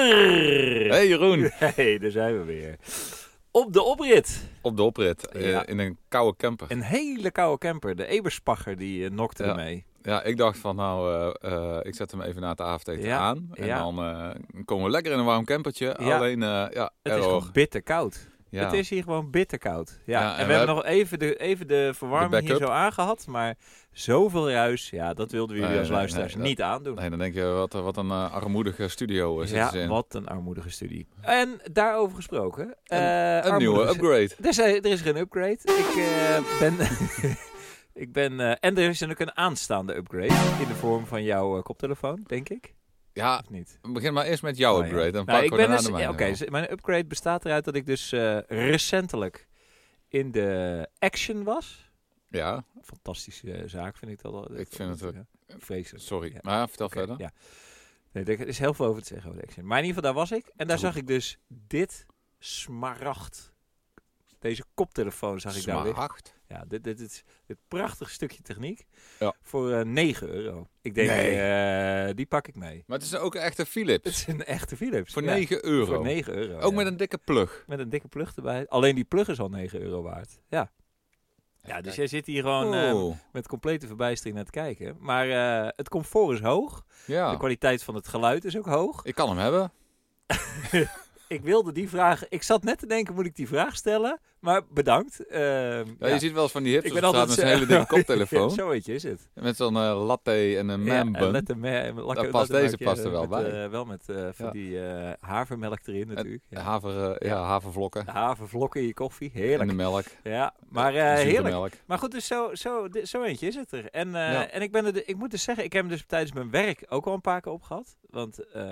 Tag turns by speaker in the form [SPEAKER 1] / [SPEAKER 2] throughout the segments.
[SPEAKER 1] Walter!
[SPEAKER 2] Hey Jeroen,
[SPEAKER 1] Hey, daar zijn we weer. Op de oprit.
[SPEAKER 2] op de oprit eh,
[SPEAKER 1] Ja.
[SPEAKER 2] in een koude camper.
[SPEAKER 1] Een hele koude camper. De Eberspagger die eh, nokte
[SPEAKER 2] Ja.
[SPEAKER 1] ermee.
[SPEAKER 2] Ja, ik dacht van nou, eh, eh, ik zet hem even na het avondeten
[SPEAKER 1] Ja,
[SPEAKER 2] aan. En
[SPEAKER 1] ja.
[SPEAKER 2] dan eh, komen we lekker in een warm campertje.
[SPEAKER 1] Ja.
[SPEAKER 2] Alleen, eh, ja,
[SPEAKER 1] Het
[SPEAKER 2] erg
[SPEAKER 1] is
[SPEAKER 2] hoog.
[SPEAKER 1] gewoon bitter koud.
[SPEAKER 2] ja.
[SPEAKER 1] Het is hier gewoon bitter koud. Ja,
[SPEAKER 2] Ja,
[SPEAKER 1] en,
[SPEAKER 2] en
[SPEAKER 1] we
[SPEAKER 2] we
[SPEAKER 1] hebben nog even de, even de
[SPEAKER 2] De
[SPEAKER 1] verwarming hier
[SPEAKER 2] backup.
[SPEAKER 1] zo aangehad. Maar zoveel ruis, ja, dat wilden we jullie
[SPEAKER 2] Nee,
[SPEAKER 1] als
[SPEAKER 2] nee,
[SPEAKER 1] luisteraars
[SPEAKER 2] nee, dat-
[SPEAKER 1] niet aandoen.
[SPEAKER 2] Nee, dan denk je, wat, wat een eh, armoedige studio eh, zitten ze
[SPEAKER 1] ja,
[SPEAKER 2] in.
[SPEAKER 1] wat een armoedige studie. En daarover gesproken. eh,
[SPEAKER 2] een nieuwe
[SPEAKER 1] armoedige-
[SPEAKER 2] upgrade.
[SPEAKER 1] Er is, eh, er is geen upgrade. Ik eh, ben. ik ben eh, en er is dan ook een aanstaande upgrade. In de vorm van jouw eh, koptelefoon, denk ik.
[SPEAKER 2] Ja,
[SPEAKER 1] Of niet?
[SPEAKER 2] begin maar eerst met jouw
[SPEAKER 1] Oh, ja.
[SPEAKER 2] upgrade. Dan
[SPEAKER 1] Nou,
[SPEAKER 2] pakken
[SPEAKER 1] ik
[SPEAKER 2] we
[SPEAKER 1] ben
[SPEAKER 2] daarna
[SPEAKER 1] dus.
[SPEAKER 2] de
[SPEAKER 1] ja,
[SPEAKER 2] mijne
[SPEAKER 1] Oké,
[SPEAKER 2] wel.
[SPEAKER 1] dus mijn upgrade bestaat eruit dat ik dus eh, recentelijk in de action was.
[SPEAKER 2] Ja,
[SPEAKER 1] Fantastische eh, zaak, vind ik dat al.
[SPEAKER 2] Ik vind het ook-
[SPEAKER 1] Ja, Vreselijk.
[SPEAKER 2] sorry.
[SPEAKER 1] Ja.
[SPEAKER 2] Maar vertel
[SPEAKER 1] Oké,
[SPEAKER 2] verder.
[SPEAKER 1] Ja. Nee, er er is heel veel over te zeggen over de action. Maar in ieder geval, daar was ik. En daar
[SPEAKER 2] Goed.
[SPEAKER 1] zag ik dus dit smaragd. Deze koptelefoon zag ik daar liggen.
[SPEAKER 2] Smaragd.
[SPEAKER 1] Ja, dit, dit, is dit prachtig stukje techniek
[SPEAKER 2] Ja.
[SPEAKER 1] voor eh 9 euro. Ik denk,
[SPEAKER 2] Nee.
[SPEAKER 1] eh, die pak ik mee.
[SPEAKER 2] Maar het is ook een echte
[SPEAKER 1] Het
[SPEAKER 2] Philips.
[SPEAKER 1] is een echte Philips.
[SPEAKER 2] Voor
[SPEAKER 1] Ja,
[SPEAKER 2] 9 euro.
[SPEAKER 1] Voor 9 euro.
[SPEAKER 2] Ook
[SPEAKER 1] ja.
[SPEAKER 2] met een dikke plug.
[SPEAKER 1] met een dikke plug erbij. Alleen die plug is al 9 euro waard. Ja, ja dus jij zit hier gewoon eh,
[SPEAKER 2] Oh,
[SPEAKER 1] met complete verbijstering naar te kijken. Maar eh, het comfort is hoog. De
[SPEAKER 2] ja.
[SPEAKER 1] kwaliteit van het geluid is ook hoog.
[SPEAKER 2] Ik kan hem hebben.
[SPEAKER 1] Ik wilde die vraag... Ik zat net te denken, moet ik die vraag stellen? Maar bedankt. Ehm,
[SPEAKER 2] Ja,
[SPEAKER 1] ja.
[SPEAKER 2] Je ziet wel eens van die
[SPEAKER 1] Ik
[SPEAKER 2] hipsters
[SPEAKER 1] ben
[SPEAKER 2] op
[SPEAKER 1] altijd
[SPEAKER 2] straat met zo'n hele dikke koptelefoon.
[SPEAKER 1] Zoietje is het.
[SPEAKER 2] Met zo'n eh, latte en een
[SPEAKER 1] Ja, eh,
[SPEAKER 2] man
[SPEAKER 1] en
[SPEAKER 2] bun.
[SPEAKER 1] met de me- en met lakken-
[SPEAKER 2] past deze
[SPEAKER 1] lakkenmerkje,
[SPEAKER 2] past er wel
[SPEAKER 1] met,
[SPEAKER 2] bij.
[SPEAKER 1] eh, wel met eh, van
[SPEAKER 2] Ja.
[SPEAKER 1] die eh, havermelk erin natuurlijk. Ja.
[SPEAKER 2] Haver, eh, ja, havervlokken.
[SPEAKER 1] Havervlokken in je koffie,
[SPEAKER 2] En
[SPEAKER 1] heerlijk.
[SPEAKER 2] de melk.
[SPEAKER 1] Ja, maar eh,
[SPEAKER 2] Zure
[SPEAKER 1] heerlijk.
[SPEAKER 2] melk.
[SPEAKER 1] Maar goed, dus zo, zo, di- zo eentje is het er. En, eh,
[SPEAKER 2] Ja.
[SPEAKER 1] en ik, ben er, de- ik moet dus zeggen, ik heb hem dus tijdens mijn werk ook al een paar keer op gehad. Want eh,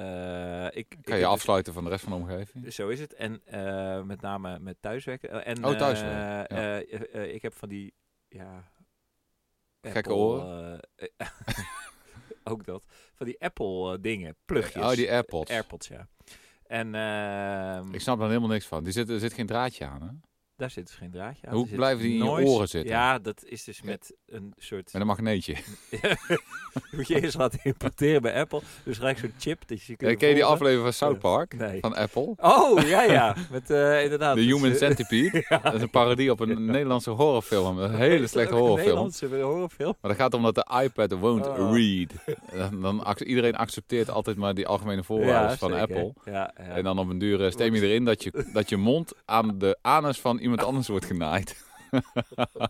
[SPEAKER 1] ik... ik
[SPEAKER 2] Kan
[SPEAKER 1] heb
[SPEAKER 2] je
[SPEAKER 1] dus-
[SPEAKER 2] afsluiten van de rest van de omgeving.
[SPEAKER 1] Zo is het. En eh, met name met thuiswerken. Eh, En,
[SPEAKER 2] Oh, thuiswerken,
[SPEAKER 1] eh,
[SPEAKER 2] ja.
[SPEAKER 1] eh, eh, eh, ik heb van die... Ja,
[SPEAKER 2] Gekke
[SPEAKER 1] Apple,
[SPEAKER 2] oren?
[SPEAKER 1] eh, eh, ook dat. Van die Apple eh, dingen, plugjes.
[SPEAKER 2] Oh, die AirPods.
[SPEAKER 1] AirPods, ja. En ehm,
[SPEAKER 2] Ik snap daar helemaal niks van. Die zit, er zit geen draadje aan, hè?
[SPEAKER 1] daar zit dus geen draadje aan.
[SPEAKER 2] Hoe
[SPEAKER 1] Er zit
[SPEAKER 2] blijven die in je
[SPEAKER 1] noise.
[SPEAKER 2] oren zitten?
[SPEAKER 1] Ja, dat is dus met een soort...
[SPEAKER 2] Met een magneetje.
[SPEAKER 1] moet je eerst laten importeren bij Apple. Dus gelijk zo'n chip dat je ze kunt
[SPEAKER 2] Ken je die
[SPEAKER 1] horen.
[SPEAKER 2] aflevering van South Park?
[SPEAKER 1] Nee.
[SPEAKER 2] Van Apple?
[SPEAKER 1] Oh, ja, ja. Met, eh, inderdaad.
[SPEAKER 2] De
[SPEAKER 1] dat
[SPEAKER 2] Human
[SPEAKER 1] ze-
[SPEAKER 2] Centipede. Dat is een parodie op een Nederlandse horrorfilm. Een hele
[SPEAKER 1] Is
[SPEAKER 2] slechte
[SPEAKER 1] dat ook een
[SPEAKER 2] horrorfilm.
[SPEAKER 1] Nederlandse horrorfilm.
[SPEAKER 2] Maar dat gaat om dat de iPad won't
[SPEAKER 1] Oh.
[SPEAKER 2] read. Dan, dan ac- iedereen accepteert altijd maar die algemene voorwaarden
[SPEAKER 1] Ja,
[SPEAKER 2] van
[SPEAKER 1] zeker.
[SPEAKER 2] Apple.
[SPEAKER 1] Ja, ja.
[SPEAKER 2] En dan op een duur eh, steem je erin dat je, dat je mond aan de anus van iemand anders wordt genaaid.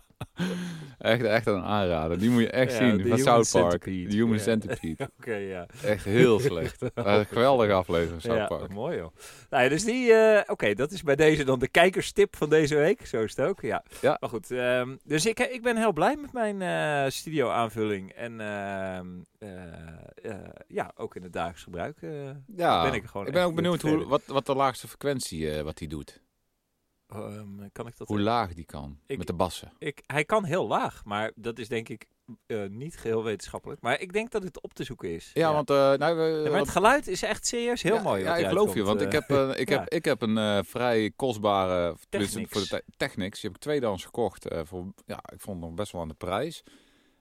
[SPEAKER 2] echt, echt een aanrader. Die moet je echt
[SPEAKER 1] Ja, de
[SPEAKER 2] zien. Van
[SPEAKER 1] Human
[SPEAKER 2] South Park.
[SPEAKER 1] Centipede.
[SPEAKER 2] De Human
[SPEAKER 1] Ja.
[SPEAKER 2] Centipede.
[SPEAKER 1] Oké, ja.
[SPEAKER 2] Echt heel slecht. Maar een geweldige aflevering van
[SPEAKER 1] Ja,
[SPEAKER 2] South Park.
[SPEAKER 1] mooi joh. Nou ja, dus die, eh, oké, dat is bij deze dan de kijkerstip van deze week. Zo is het ook, ja.
[SPEAKER 2] Ja.
[SPEAKER 1] Maar goed, ehm, dus ik, ik ben heel blij met mijn eh, studio aanvulling. En ehm, eh, eh, ja, ook in het dagelijks gebruik eh,
[SPEAKER 2] Ja.
[SPEAKER 1] ben ik er gewoon
[SPEAKER 2] Ik ben
[SPEAKER 1] echt
[SPEAKER 2] ook benieuwd hoe,
[SPEAKER 1] tevreden.
[SPEAKER 2] wat, wat de laagste frequentie eh, wat die doet.
[SPEAKER 1] Ehm, kan ik dat...
[SPEAKER 2] Hoe laag die kan.
[SPEAKER 1] Ik-
[SPEAKER 2] met de bassen.
[SPEAKER 1] Ik, hij kan heel laag, maar dat is denk ik eh, niet geheel wetenschappelijk. Maar ik denk dat het op te zoeken is.
[SPEAKER 2] Ja, want... eh, nou, we-
[SPEAKER 1] Ja, maar het geluid is echt serieus heel
[SPEAKER 2] ja,
[SPEAKER 1] mooi.
[SPEAKER 2] Ja,
[SPEAKER 1] wat
[SPEAKER 2] ik
[SPEAKER 1] eruit
[SPEAKER 2] geloof je.
[SPEAKER 1] komt,
[SPEAKER 2] Want
[SPEAKER 1] eh.
[SPEAKER 2] ik heb, eh, ik
[SPEAKER 1] ja.
[SPEAKER 2] heb, ik heb een eh, vrij kostbare... tenminste,
[SPEAKER 1] Technics.
[SPEAKER 2] Voor de te- Technics. Die heb ik tweedehands gekocht. eh, voor, ja, ik vond hem nog best wel aan de prijs.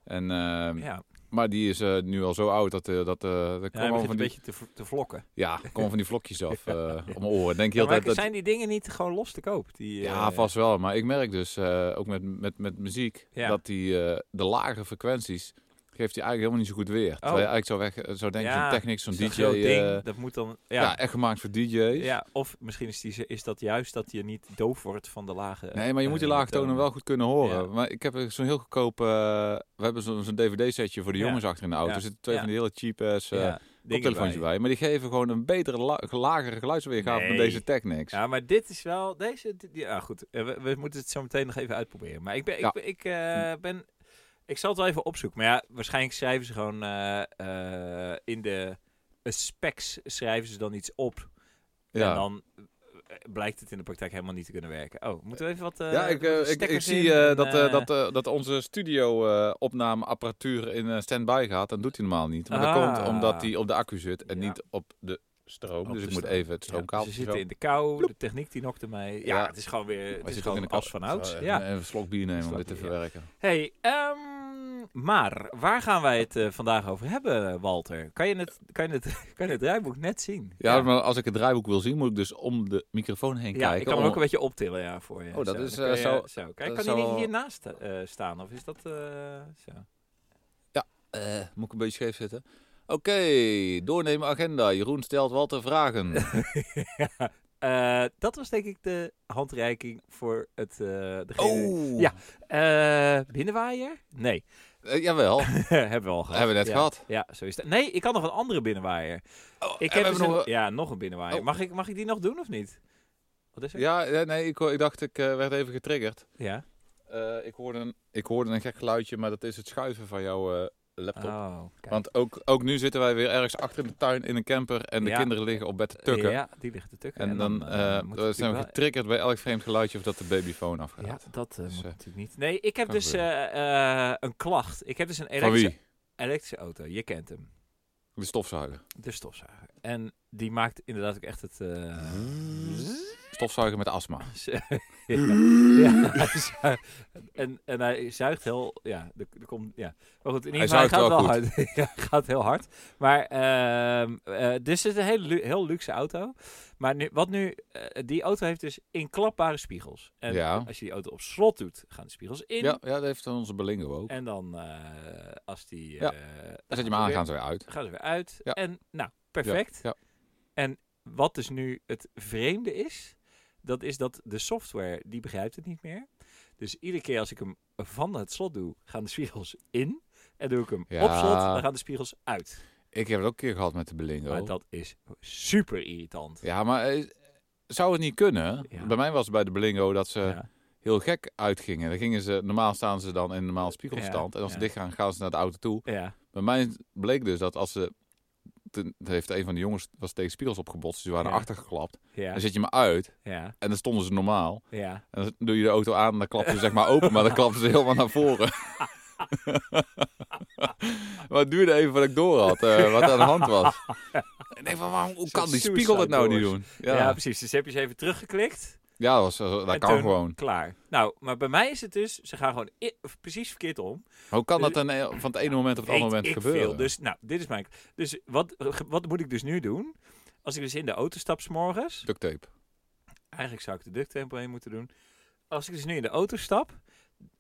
[SPEAKER 2] En, eh,
[SPEAKER 1] Ja,
[SPEAKER 2] Maar die is eh, nu al zo oud dat... eh dat eh er
[SPEAKER 1] ja, hij
[SPEAKER 2] komen
[SPEAKER 1] begint
[SPEAKER 2] van
[SPEAKER 1] een
[SPEAKER 2] die,
[SPEAKER 1] beetje te, v- te vlokken.
[SPEAKER 2] ja, komen van die vlokjes af eh, om mijn oren. Denk je
[SPEAKER 1] Ja,
[SPEAKER 2] heel
[SPEAKER 1] maar
[SPEAKER 2] de tijd dat,
[SPEAKER 1] zijn die dingen niet gewoon los te koop? Die,
[SPEAKER 2] Ja,
[SPEAKER 1] eh,
[SPEAKER 2] vast wel. Maar ik merk dus, eh, ook met, met, met muziek,
[SPEAKER 1] Ja.
[SPEAKER 2] dat die, eh, de lagere frequenties geeft hij eigenlijk helemaal niet zo goed weer. Terwijl je eigenlijk zo, weg, zo denken,
[SPEAKER 1] Oh. Ja,
[SPEAKER 2] zo'n technics, zo'n
[SPEAKER 1] zo'n
[SPEAKER 2] DJ...
[SPEAKER 1] groot ding,
[SPEAKER 2] eh,
[SPEAKER 1] dat moet dan...
[SPEAKER 2] ja.
[SPEAKER 1] Ja, ja,
[SPEAKER 2] echt gemaakt voor DJ's.
[SPEAKER 1] of misschien is, die, is dat juist dat je niet doof wordt van de lage...
[SPEAKER 2] Nee, maar je moet die
[SPEAKER 1] eh,
[SPEAKER 2] lage tonen wel goed kunnen horen.
[SPEAKER 1] Ja.
[SPEAKER 2] Maar ik heb er zo'n heel goedkoop... eh, we hebben zo'n zo'n DVD-setje voor de
[SPEAKER 1] Ja.
[SPEAKER 2] jongens achter in de auto.
[SPEAKER 1] Ja.
[SPEAKER 2] Er zitten twee
[SPEAKER 1] Ja.
[SPEAKER 2] van die hele cheap-ass eh
[SPEAKER 1] ja, dingen
[SPEAKER 2] koptelefoontjes bij. Maar die geven gewoon een betere, la- lagere geluidsweergave
[SPEAKER 1] Nee.
[SPEAKER 2] dan deze technics.
[SPEAKER 1] Ja, maar dit is wel... Deze, dit- ja, goed. eh, We, we moeten het zo meteen nog even uitproberen. Maar ik ben...
[SPEAKER 2] Ja.
[SPEAKER 1] Ik, ben- ik, eh, ben ik zal het wel even opzoeken. Maar ja, waarschijnlijk schrijven ze gewoon eh, eh, in de eh, specs schrijven ze dan iets op. En
[SPEAKER 2] Ja.
[SPEAKER 1] dan eh, blijkt het in de praktijk helemaal niet te kunnen werken. Oh, moeten we even wat... eh,
[SPEAKER 2] Ja, ik, eh,
[SPEAKER 1] wat
[SPEAKER 2] ik, ik
[SPEAKER 1] stekkers
[SPEAKER 2] zie
[SPEAKER 1] in
[SPEAKER 2] eh,
[SPEAKER 1] en,
[SPEAKER 2] dat, eh,
[SPEAKER 1] eh,
[SPEAKER 2] dat, eh, dat onze studio-opnameapparatuur in eh, standby gaat. Dat doet hij normaal niet. Maar dat
[SPEAKER 1] Ah.
[SPEAKER 2] komt omdat hij op de accu zit en
[SPEAKER 1] Ja.
[SPEAKER 2] niet op de stroom.
[SPEAKER 1] Op
[SPEAKER 2] dus
[SPEAKER 1] de
[SPEAKER 2] ik moet
[SPEAKER 1] stroom.
[SPEAKER 2] even het
[SPEAKER 1] Ja,
[SPEAKER 2] stroomkabel.
[SPEAKER 1] ze zitten in de kou, de techniek die nokte mij. Ja,
[SPEAKER 2] Ja.
[SPEAKER 1] het is gewoon weer het
[SPEAKER 2] Hij
[SPEAKER 1] is
[SPEAKER 2] zit ook
[SPEAKER 1] gewoon
[SPEAKER 2] in de
[SPEAKER 1] als
[SPEAKER 2] kast. eh,
[SPEAKER 1] van ouds.
[SPEAKER 2] Zo,
[SPEAKER 1] Ja.
[SPEAKER 2] Even een slok bier nemen om
[SPEAKER 1] Slok
[SPEAKER 2] dit te
[SPEAKER 1] bier, ja.
[SPEAKER 2] verwerken.
[SPEAKER 1] Hey, ehm, maar waar gaan wij het eh, vandaag over hebben, Walter? Kan je het, kan je het, kan je het draaiboek net zien?
[SPEAKER 2] Ja, maar als ik het draaiboek wil zien, moet ik dus om de microfoon heen
[SPEAKER 1] Ja,
[SPEAKER 2] kijken. Oh,
[SPEAKER 1] ik kan
[SPEAKER 2] om-
[SPEAKER 1] hem ook een beetje optillen ja, voor je.
[SPEAKER 2] Oh, dat
[SPEAKER 1] Zo,
[SPEAKER 2] is,
[SPEAKER 1] dan kun je-
[SPEAKER 2] eh, zo-
[SPEAKER 1] Kijk,
[SPEAKER 2] dat
[SPEAKER 1] kan hij
[SPEAKER 2] zou-
[SPEAKER 1] hiernaast eh, staan? Of is dat eh, zo?
[SPEAKER 2] Eh, moet ik een beetje scheef zitten? Oké, doornemen agenda. Jeroen stelt Walter vragen.
[SPEAKER 1] Eh, dat was denk ik de handreiking voor het... eh degene...
[SPEAKER 2] oh,
[SPEAKER 1] Ja. Eh, binnenwaaier? Nee,
[SPEAKER 2] Eh, jawel.
[SPEAKER 1] hebben we al gehad.
[SPEAKER 2] Hebben we net
[SPEAKER 1] Ja.
[SPEAKER 2] gehad.
[SPEAKER 1] Ja, zo is dat. Nee, ik had nog een andere binnenwaaier.
[SPEAKER 2] Oh,
[SPEAKER 1] Ik
[SPEAKER 2] en
[SPEAKER 1] heb
[SPEAKER 2] we
[SPEAKER 1] dus
[SPEAKER 2] hebben
[SPEAKER 1] een-
[SPEAKER 2] nog...
[SPEAKER 1] Ja, nog een binnenwaaier.
[SPEAKER 2] Oh.
[SPEAKER 1] Mag, ik, mag ik die nog doen of niet? Wat is er?
[SPEAKER 2] Ja, ja, nee, ik, hoor- ik dacht, ik eh, werd even getriggerd.
[SPEAKER 1] Ja.
[SPEAKER 2] Eh, ik, hoorde een, ik hoorde een gek geluidje, maar dat is het schuiven van jouw eh, laptop.
[SPEAKER 1] Oh, kijk.
[SPEAKER 2] Want ook, ook nu zitten wij weer ergens achter in de tuin in een camper en de
[SPEAKER 1] Ja.
[SPEAKER 2] kinderen liggen op bed te tukken.
[SPEAKER 1] Ja, die ligt te tukken.
[SPEAKER 2] En, dan,
[SPEAKER 1] eh,
[SPEAKER 2] eh,
[SPEAKER 1] moet
[SPEAKER 2] dan
[SPEAKER 1] het
[SPEAKER 2] zijn we
[SPEAKER 1] natuurlijk
[SPEAKER 2] getriggerd bij elk vreemd geluidje of dat de babyfoon
[SPEAKER 1] wel- Ja,
[SPEAKER 2] afgaat.
[SPEAKER 1] dat eh,
[SPEAKER 2] Dus,
[SPEAKER 1] moet
[SPEAKER 2] eh,
[SPEAKER 1] natuurlijk niet. Nee, ik heb
[SPEAKER 2] kan
[SPEAKER 1] dus eh, eh, een klacht. Ik heb dus een
[SPEAKER 2] Van
[SPEAKER 1] elektrische,
[SPEAKER 2] wie?
[SPEAKER 1] elektrische auto. Je kent hem.
[SPEAKER 2] De stofzuiger.
[SPEAKER 1] De stofzuiger. En die maakt inderdaad ook echt het... eh,
[SPEAKER 2] Stofzuiger met astma.
[SPEAKER 1] ja. Ja, hij zu- en, en hij zuigt heel... Ja, er, er komt... Ja. Maar goed, in ieder
[SPEAKER 2] Hij
[SPEAKER 1] geval, hij gaat
[SPEAKER 2] zuigt wel
[SPEAKER 1] wel hard. ja, hij gaat heel hard. Maar, ehm, eh, dus het is een hele, lu- heel luxe auto. Maar nu, wat nu... eh, die auto heeft dus inklapbare spiegels. En
[SPEAKER 2] Ja.
[SPEAKER 1] als je die auto op slot doet, gaan de spiegels in.
[SPEAKER 2] Ja, ja, dat heeft onze Belingo ook.
[SPEAKER 1] En dan eh, als die...
[SPEAKER 2] Ja.
[SPEAKER 1] eh,
[SPEAKER 2] Dan zet je
[SPEAKER 1] gaat
[SPEAKER 2] hem aan,
[SPEAKER 1] weer-
[SPEAKER 2] gaan ze weer uit.
[SPEAKER 1] gaan ze weer uit.
[SPEAKER 2] Ja.
[SPEAKER 1] En nou, perfect.
[SPEAKER 2] ja.
[SPEAKER 1] En wat dus nu het vreemde is, dat is dat de software, die begrijpt het niet meer. Dus iedere keer als ik hem van het slot doe, gaan de spiegels in. En doe ik hem
[SPEAKER 2] Ja.
[SPEAKER 1] op slot, dan gaan de spiegels uit.
[SPEAKER 2] Ik heb het ook een keer gehad met de Belingo.
[SPEAKER 1] Maar dat is super irritant.
[SPEAKER 2] Ja, maar eh, zou het niet kunnen?
[SPEAKER 1] Ja.
[SPEAKER 2] Bij mij was het bij de Belingo dat ze
[SPEAKER 1] Ja.
[SPEAKER 2] heel gek uitgingen. Dan gingen ze, normaal staan ze dan in normaal spiegelstand.
[SPEAKER 1] Ja,
[SPEAKER 2] en als ze
[SPEAKER 1] ja.
[SPEAKER 2] dicht gaan, gaan ze naar de auto toe.
[SPEAKER 1] Ja.
[SPEAKER 2] Bij mij bleek dus dat als ze... Toen heeft een van de jongens was tegen spiegels opgebotst. Dus die waren
[SPEAKER 1] Ja.
[SPEAKER 2] naar achter geklapt.
[SPEAKER 1] Ja.
[SPEAKER 2] Dan zet je hem uit
[SPEAKER 1] Ja.
[SPEAKER 2] en dan stonden ze normaal.
[SPEAKER 1] Ja.
[SPEAKER 2] En dan doe je de auto aan en dan klappen ze zeg maar open. Maar dan klappen ze helemaal naar voren. maar het duurde even voordat ik door had eh, wat er aan de hand was. Ik denk van, waarom, hoe
[SPEAKER 1] Zo'n
[SPEAKER 2] kan die
[SPEAKER 1] suicide
[SPEAKER 2] spiegel dat nou niet
[SPEAKER 1] doors.
[SPEAKER 2] doen?
[SPEAKER 1] Ja.
[SPEAKER 2] Ja, ja,
[SPEAKER 1] precies. Dus heb je ze even teruggeklikt.
[SPEAKER 2] dat, was, dat
[SPEAKER 1] En
[SPEAKER 2] kan
[SPEAKER 1] toen-
[SPEAKER 2] gewoon.
[SPEAKER 1] Klaar. Nou, maar bij mij is het dus, ze gaan gewoon i- precies verkeerd om.
[SPEAKER 2] Hoe kan dat dan eh, van het ene moment op het
[SPEAKER 1] Weet
[SPEAKER 2] andere moment
[SPEAKER 1] ik
[SPEAKER 2] gebeuren?
[SPEAKER 1] Veel. Dus nou, dit is mijn. Dus wat, wat moet ik dus nu doen? Als ik dus in de auto stap 's morgens,
[SPEAKER 2] Duct tape.
[SPEAKER 1] eigenlijk zou ik de ducttempo heen moeten doen. Als ik dus nu in de auto stap,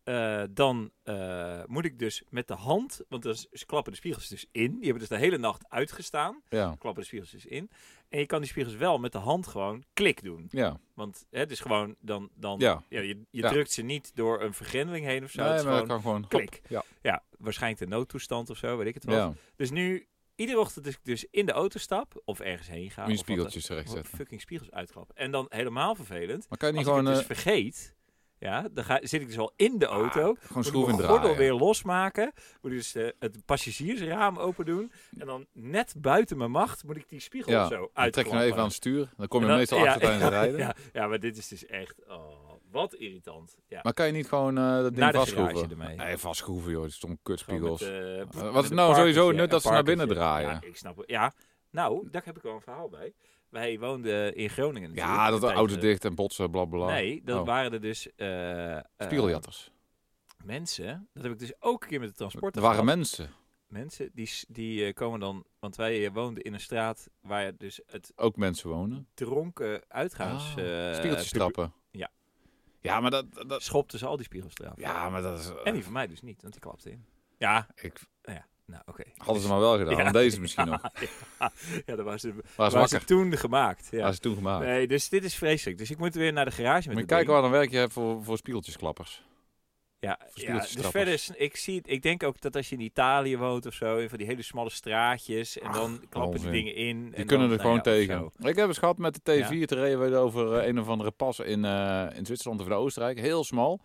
[SPEAKER 1] eh, dan eh, moet ik dus met de hand, want dan s- klappen de spiegels dus in. Die hebben dus de hele nacht uitgestaan.
[SPEAKER 2] Ja.
[SPEAKER 1] Klappen de spiegels dus in. En je kan die spiegels wel met de hand gewoon klik doen.
[SPEAKER 2] Ja.
[SPEAKER 1] Want hè, het is gewoon dan, dan ja.
[SPEAKER 2] Ja.
[SPEAKER 1] je, je
[SPEAKER 2] Ja.
[SPEAKER 1] drukt ze niet door een vergrendeling heen of zo. het
[SPEAKER 2] nee,
[SPEAKER 1] is
[SPEAKER 2] maar dat
[SPEAKER 1] gewoon
[SPEAKER 2] kan gewoon.
[SPEAKER 1] klik.
[SPEAKER 2] Ja.
[SPEAKER 1] ja, waarschijnlijk de noodtoestand of zo, weet ik het wel.
[SPEAKER 2] Ja.
[SPEAKER 1] Dus nu, iedere ochtend als ik dus in de auto stap of ergens heen ga.
[SPEAKER 2] Moet je
[SPEAKER 1] of wat
[SPEAKER 2] spiegeltjes terecht
[SPEAKER 1] dan-
[SPEAKER 2] zetten.
[SPEAKER 1] Fucking spiegels uitklappen. En dan helemaal vervelend.
[SPEAKER 2] Maar kan je
[SPEAKER 1] Als
[SPEAKER 2] niet gewoon,
[SPEAKER 1] ik het
[SPEAKER 2] eh Ah,
[SPEAKER 1] dus vergeet, ja, dan ga, zit ik dus al in de auto. Moet
[SPEAKER 2] gewoon
[SPEAKER 1] ik
[SPEAKER 2] schroeven
[SPEAKER 1] mijn gordel
[SPEAKER 2] draaien?
[SPEAKER 1] weer losmaken. Moet ik dus eh, het passagiersraam open doen. En dan net buiten mijn macht moet ik die spiegel
[SPEAKER 2] Ja,
[SPEAKER 1] zo
[SPEAKER 2] Dan
[SPEAKER 1] uitklappen.
[SPEAKER 2] trek je nou even aan het stuur. Dan kom je
[SPEAKER 1] En dan-
[SPEAKER 2] meestal
[SPEAKER 1] ja,
[SPEAKER 2] achter tijdens het rijden.
[SPEAKER 1] Ja, ja, maar dit is dus echt, oh, wat irritant. Ja.
[SPEAKER 2] Maar kan je niet gewoon eh, dat ding
[SPEAKER 1] Naar de
[SPEAKER 2] vastschroeven?
[SPEAKER 1] garage ermee.
[SPEAKER 2] Nee, vastschroeven joh. Dat is toch een
[SPEAKER 1] Gewoon met,
[SPEAKER 2] kutspiegels.
[SPEAKER 1] eh, pff,
[SPEAKER 2] Wat is
[SPEAKER 1] met
[SPEAKER 2] het
[SPEAKER 1] een
[SPEAKER 2] nou sowieso
[SPEAKER 1] parkertje,
[SPEAKER 2] nut dat
[SPEAKER 1] een
[SPEAKER 2] ze naar binnen
[SPEAKER 1] parkertje.
[SPEAKER 2] draaien?
[SPEAKER 1] Ja, ik snap het. Ja, nou, daar heb ik wel een verhaal bij. Wij woonden in Groningen. natuurlijk.
[SPEAKER 2] Ja, dat de
[SPEAKER 1] Tijdens
[SPEAKER 2] auto
[SPEAKER 1] eh, de-
[SPEAKER 2] dicht en botsen, blablabla.
[SPEAKER 1] Nee, dat
[SPEAKER 2] Oh.
[SPEAKER 1] waren er dus eh, eh,
[SPEAKER 2] Spiegeljatters.
[SPEAKER 1] mensen. Dat heb ik dus ook een keer met de transport.
[SPEAKER 2] Er waren
[SPEAKER 1] gehad.
[SPEAKER 2] mensen.
[SPEAKER 1] mensen die, s- die eh, komen dan, want wij eh, woonden in een straat waar dus het
[SPEAKER 2] Ook mensen wonen.
[SPEAKER 1] dronken uitgaans.
[SPEAKER 2] Ah,
[SPEAKER 1] eh,
[SPEAKER 2] Spiegeltjes
[SPEAKER 1] pub-
[SPEAKER 2] trappen.
[SPEAKER 1] ja.
[SPEAKER 2] Ja, maar dat... dat
[SPEAKER 1] Schopten ze al die spiegels eraf.
[SPEAKER 2] ja, maar dat is... eh,
[SPEAKER 1] En die van mij dus niet, want die klapte in. Ja,
[SPEAKER 2] ik,
[SPEAKER 1] nou oké.
[SPEAKER 2] hadden ze maar wel gedaan.
[SPEAKER 1] Ja.
[SPEAKER 2] Deze misschien nog.
[SPEAKER 1] Ja, dat was, het
[SPEAKER 2] Waar ze
[SPEAKER 1] was
[SPEAKER 2] wakker.
[SPEAKER 1] het toen gemaakt. Ja.
[SPEAKER 2] Waar ze toen gemaakt.
[SPEAKER 1] Nee, dus dit is vreselijk. Dus ik moet weer naar de garage met
[SPEAKER 2] Moet je
[SPEAKER 1] het
[SPEAKER 2] kijken
[SPEAKER 1] ding.
[SPEAKER 2] wat een werk je hebt voor, voor spiegeltjesklappers.
[SPEAKER 1] Ja, ja
[SPEAKER 2] spiegeltjes
[SPEAKER 1] dus
[SPEAKER 2] trappers.
[SPEAKER 1] verder is, ik zie het, ik denk ook dat als je in Italië woont of zo, in van die hele smalle straatjes, en dan klappen
[SPEAKER 2] onzin.
[SPEAKER 1] die dingen in.
[SPEAKER 2] Die
[SPEAKER 1] en
[SPEAKER 2] kunnen
[SPEAKER 1] dan,
[SPEAKER 2] er gewoon
[SPEAKER 1] nou ja,
[SPEAKER 2] tegen.
[SPEAKER 1] zo.
[SPEAKER 2] Ik heb eens gehad met de T4,
[SPEAKER 1] Ja.
[SPEAKER 2] te reden we over eh, een of andere pas in, eh, in Zwitserland of in Oostenrijk. Heel smal.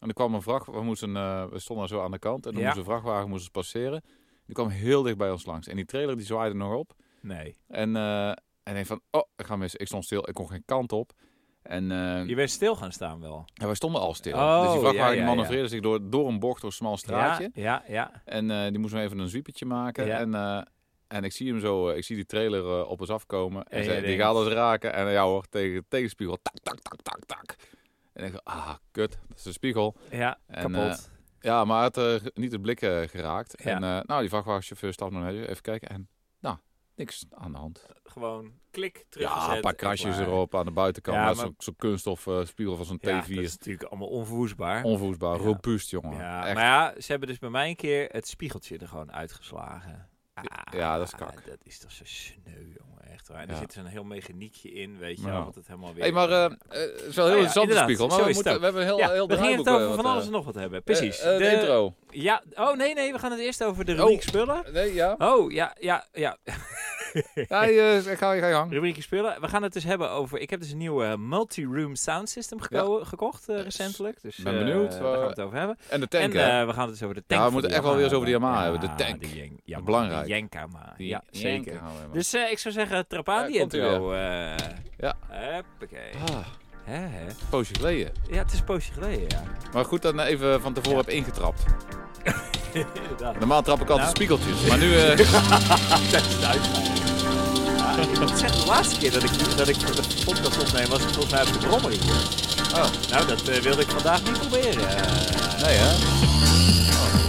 [SPEAKER 2] En er kwam een vracht, we, moesten, eh, we stonden zo aan de kant en dan
[SPEAKER 1] Ja.
[SPEAKER 2] moest een vrachtwagen moest passeren. Die kwam heel dicht bij ons langs. En die trailer die zwaaide nog op.
[SPEAKER 1] Nee.
[SPEAKER 2] En, eh en ik van, oh, ik ga mis. Ik stond stil, ik kon geen kant op. En eh,
[SPEAKER 1] Je bent stil gaan staan wel.
[SPEAKER 2] ja, wij stonden al stil.
[SPEAKER 1] Oh,
[SPEAKER 2] dus die vrachtwagen
[SPEAKER 1] ja, ja,
[SPEAKER 2] manoeuvreerde zich door, door een bocht, door een smal straatje.
[SPEAKER 1] Ja, ja, ja.
[SPEAKER 2] En eh, die moest me even een zwiepetje maken.
[SPEAKER 1] Ja.
[SPEAKER 2] En, eh, en ik zie hem zo, eh, ik zie die trailer eh, op ons afkomen. En,
[SPEAKER 1] En
[SPEAKER 2] zei,
[SPEAKER 1] jij
[SPEAKER 2] die
[SPEAKER 1] denkt-
[SPEAKER 2] gaat ons raken. En eh, ja hoor, tegen, tegen de spiegel. Tak, tak, tak, tak, tak. En ik dacht, ah, kut, dat is de spiegel.
[SPEAKER 1] Ja,
[SPEAKER 2] En,
[SPEAKER 1] kapot.
[SPEAKER 2] Ja, maar het, eh, ge- niet het blik eh, geraakt.
[SPEAKER 1] Ja.
[SPEAKER 2] En eh, nou, die vrachtwagenchauffeur stapt nog even even kijken. En nou, niks aan de hand.
[SPEAKER 1] Gewoon klik teruggezet.
[SPEAKER 2] Ja, een paar
[SPEAKER 1] en
[SPEAKER 2] krasjes
[SPEAKER 1] klaar.
[SPEAKER 2] erop aan de buitenkant.
[SPEAKER 1] Ja,
[SPEAKER 2] maar
[SPEAKER 1] maar-
[SPEAKER 2] Zo'n zo'n kunststof eh, spiegel van zo'n
[SPEAKER 1] Ja,
[SPEAKER 2] T4.
[SPEAKER 1] dat is natuurlijk allemaal onverwoestbaar.
[SPEAKER 2] Onvoestbaar,
[SPEAKER 1] Ja.
[SPEAKER 2] robuust, jongen.
[SPEAKER 1] ja,
[SPEAKER 2] Echt.
[SPEAKER 1] maar ja, ze hebben dus bij mij een keer het spiegeltje er gewoon uitgeslagen. Ah,
[SPEAKER 2] Ja, dat is kak.
[SPEAKER 1] Dat is toch zo sneu, jongen. Echt waar. En er
[SPEAKER 2] Ja.
[SPEAKER 1] zit zo'n heel mechaniekje in, weet je
[SPEAKER 2] Ja.
[SPEAKER 1] wel, wat het helemaal weer...
[SPEAKER 2] Hey, maar eh, eh, het is wel
[SPEAKER 1] Oh
[SPEAKER 2] heel
[SPEAKER 1] ja,
[SPEAKER 2] interessant, de
[SPEAKER 1] inderdaad.
[SPEAKER 2] spiegel. Maar
[SPEAKER 1] Zo
[SPEAKER 2] we,
[SPEAKER 1] is het
[SPEAKER 2] moeten,
[SPEAKER 1] ook.
[SPEAKER 2] we hebben een heel,
[SPEAKER 1] ja,
[SPEAKER 2] heel
[SPEAKER 1] we gingen het
[SPEAKER 2] draaiboek,
[SPEAKER 1] over
[SPEAKER 2] eh,
[SPEAKER 1] van
[SPEAKER 2] wat,
[SPEAKER 1] alles
[SPEAKER 2] eh,
[SPEAKER 1] en nog wat hebben. Precies.
[SPEAKER 2] eh, eh, de intro.
[SPEAKER 1] Ja, oh nee, nee, we gaan het eerst over de
[SPEAKER 2] Oh.
[SPEAKER 1] rubriek spullen.
[SPEAKER 2] Nee, ja.
[SPEAKER 1] Oh, ja, ja, ja.
[SPEAKER 2] ja je, ga, je- ga je gang.
[SPEAKER 1] Rubriekje spullen. We gaan het dus hebben over... Ik heb dus een nieuw eh, multi-room sound system geko- gekocht eh,
[SPEAKER 2] Yes.
[SPEAKER 1] recentelijk. Dus
[SPEAKER 2] Ben
[SPEAKER 1] eh,
[SPEAKER 2] benieuwd,
[SPEAKER 1] daar
[SPEAKER 2] eh,
[SPEAKER 1] gaan we het over hebben.
[SPEAKER 2] En de tank,
[SPEAKER 1] en
[SPEAKER 2] hè?
[SPEAKER 1] eh, we gaan het dus over de tank
[SPEAKER 2] Ja, we
[SPEAKER 1] van
[SPEAKER 2] moeten
[SPEAKER 1] de
[SPEAKER 2] echt wel weer eens over de Yamaha
[SPEAKER 1] hebben.
[SPEAKER 2] hebben. De tank.
[SPEAKER 1] die Yang- Yamaha,
[SPEAKER 2] Belangrijk.
[SPEAKER 1] De Yankama.
[SPEAKER 2] Die
[SPEAKER 1] Ja,
[SPEAKER 2] jank
[SPEAKER 1] zeker.
[SPEAKER 2] houden we maar.
[SPEAKER 1] Dus eh, ik zou zeggen, trap aan
[SPEAKER 2] Ja,
[SPEAKER 1] die
[SPEAKER 2] komt ie
[SPEAKER 1] intro. eh.
[SPEAKER 2] Ja.
[SPEAKER 1] Huppakee.
[SPEAKER 2] Ah,
[SPEAKER 1] Hè, hè.
[SPEAKER 2] een poosje geleden.
[SPEAKER 1] Ja, het is een poosje geleden, ja.
[SPEAKER 2] Maar goed dat ik even van tevoren heb ingetrapt.
[SPEAKER 1] Inderdaad.
[SPEAKER 2] Normaal trap ik altijd
[SPEAKER 1] Nou.
[SPEAKER 2] spiegeltjes. Maar nu... eh,
[SPEAKER 1] Dat is het Ja, ik moet zeggen, de laatste keer dat ik, dat ik de podcast opneem was ik volgens mij op de brommer hier.
[SPEAKER 2] oh,
[SPEAKER 1] Nou, dat eh, wilde ik vandaag niet proberen. Eh,
[SPEAKER 2] nee hè?
[SPEAKER 1] nee,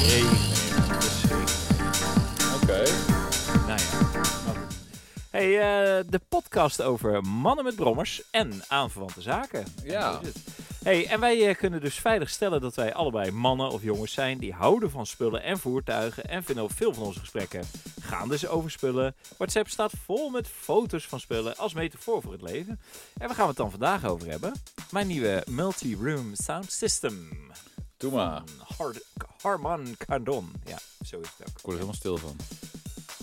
[SPEAKER 1] nee, dat is zeker.
[SPEAKER 2] Oké.
[SPEAKER 1] Nou ja. maar goed. Hey, eh, de podcast over mannen met brommers en aanverwante zaken.
[SPEAKER 2] Ja.
[SPEAKER 1] Zo is het. Hey, en wij eh, kunnen dus veilig stellen dat wij allebei mannen of jongens zijn die houden van spullen en voertuigen en vinden veel van onze gesprekken gaan dus over spullen. WhatsApp staat vol met foto's van spullen als metafoor voor het leven. En waar gaan we het dan vandaag over hebben? Mijn nieuwe multi-room sound system.
[SPEAKER 2] Doe maar.
[SPEAKER 1] Van Hard- Harman Kardon. Ja, zo is het ook.
[SPEAKER 2] Ik word er helemaal stil van.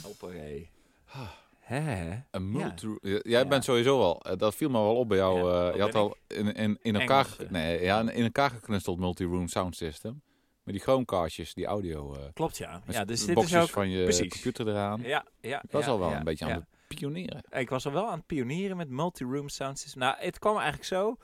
[SPEAKER 1] Hoppakee. Hè, hè?
[SPEAKER 2] Ah. Een
[SPEAKER 1] Ja.
[SPEAKER 2] multi- J- Jij bent sowieso al, eh, dat viel me wel op bij jou.
[SPEAKER 1] Ja,
[SPEAKER 2] eh,
[SPEAKER 1] wat
[SPEAKER 2] je had
[SPEAKER 1] ben
[SPEAKER 2] al in, in, in elkaar,
[SPEAKER 1] Engels,
[SPEAKER 2] ge-
[SPEAKER 1] eh.
[SPEAKER 2] nee, ja, in elkaar geknusteld multi-room sound system. Met die chromecastjes, die audio. eh
[SPEAKER 1] Klopt, ja.
[SPEAKER 2] met
[SPEAKER 1] ja
[SPEAKER 2] de
[SPEAKER 1] dus dit is
[SPEAKER 2] boxjes
[SPEAKER 1] ook...
[SPEAKER 2] van je
[SPEAKER 1] precies. Eh,
[SPEAKER 2] computer eraan.
[SPEAKER 1] Ja, ja,
[SPEAKER 2] Ik was
[SPEAKER 1] ja,
[SPEAKER 2] al wel
[SPEAKER 1] ja,
[SPEAKER 2] een beetje
[SPEAKER 1] ja.
[SPEAKER 2] aan het pionieren.
[SPEAKER 1] Ik was al wel aan het pionieren met multi-room sound system. Nou, het kwam eigenlijk zo.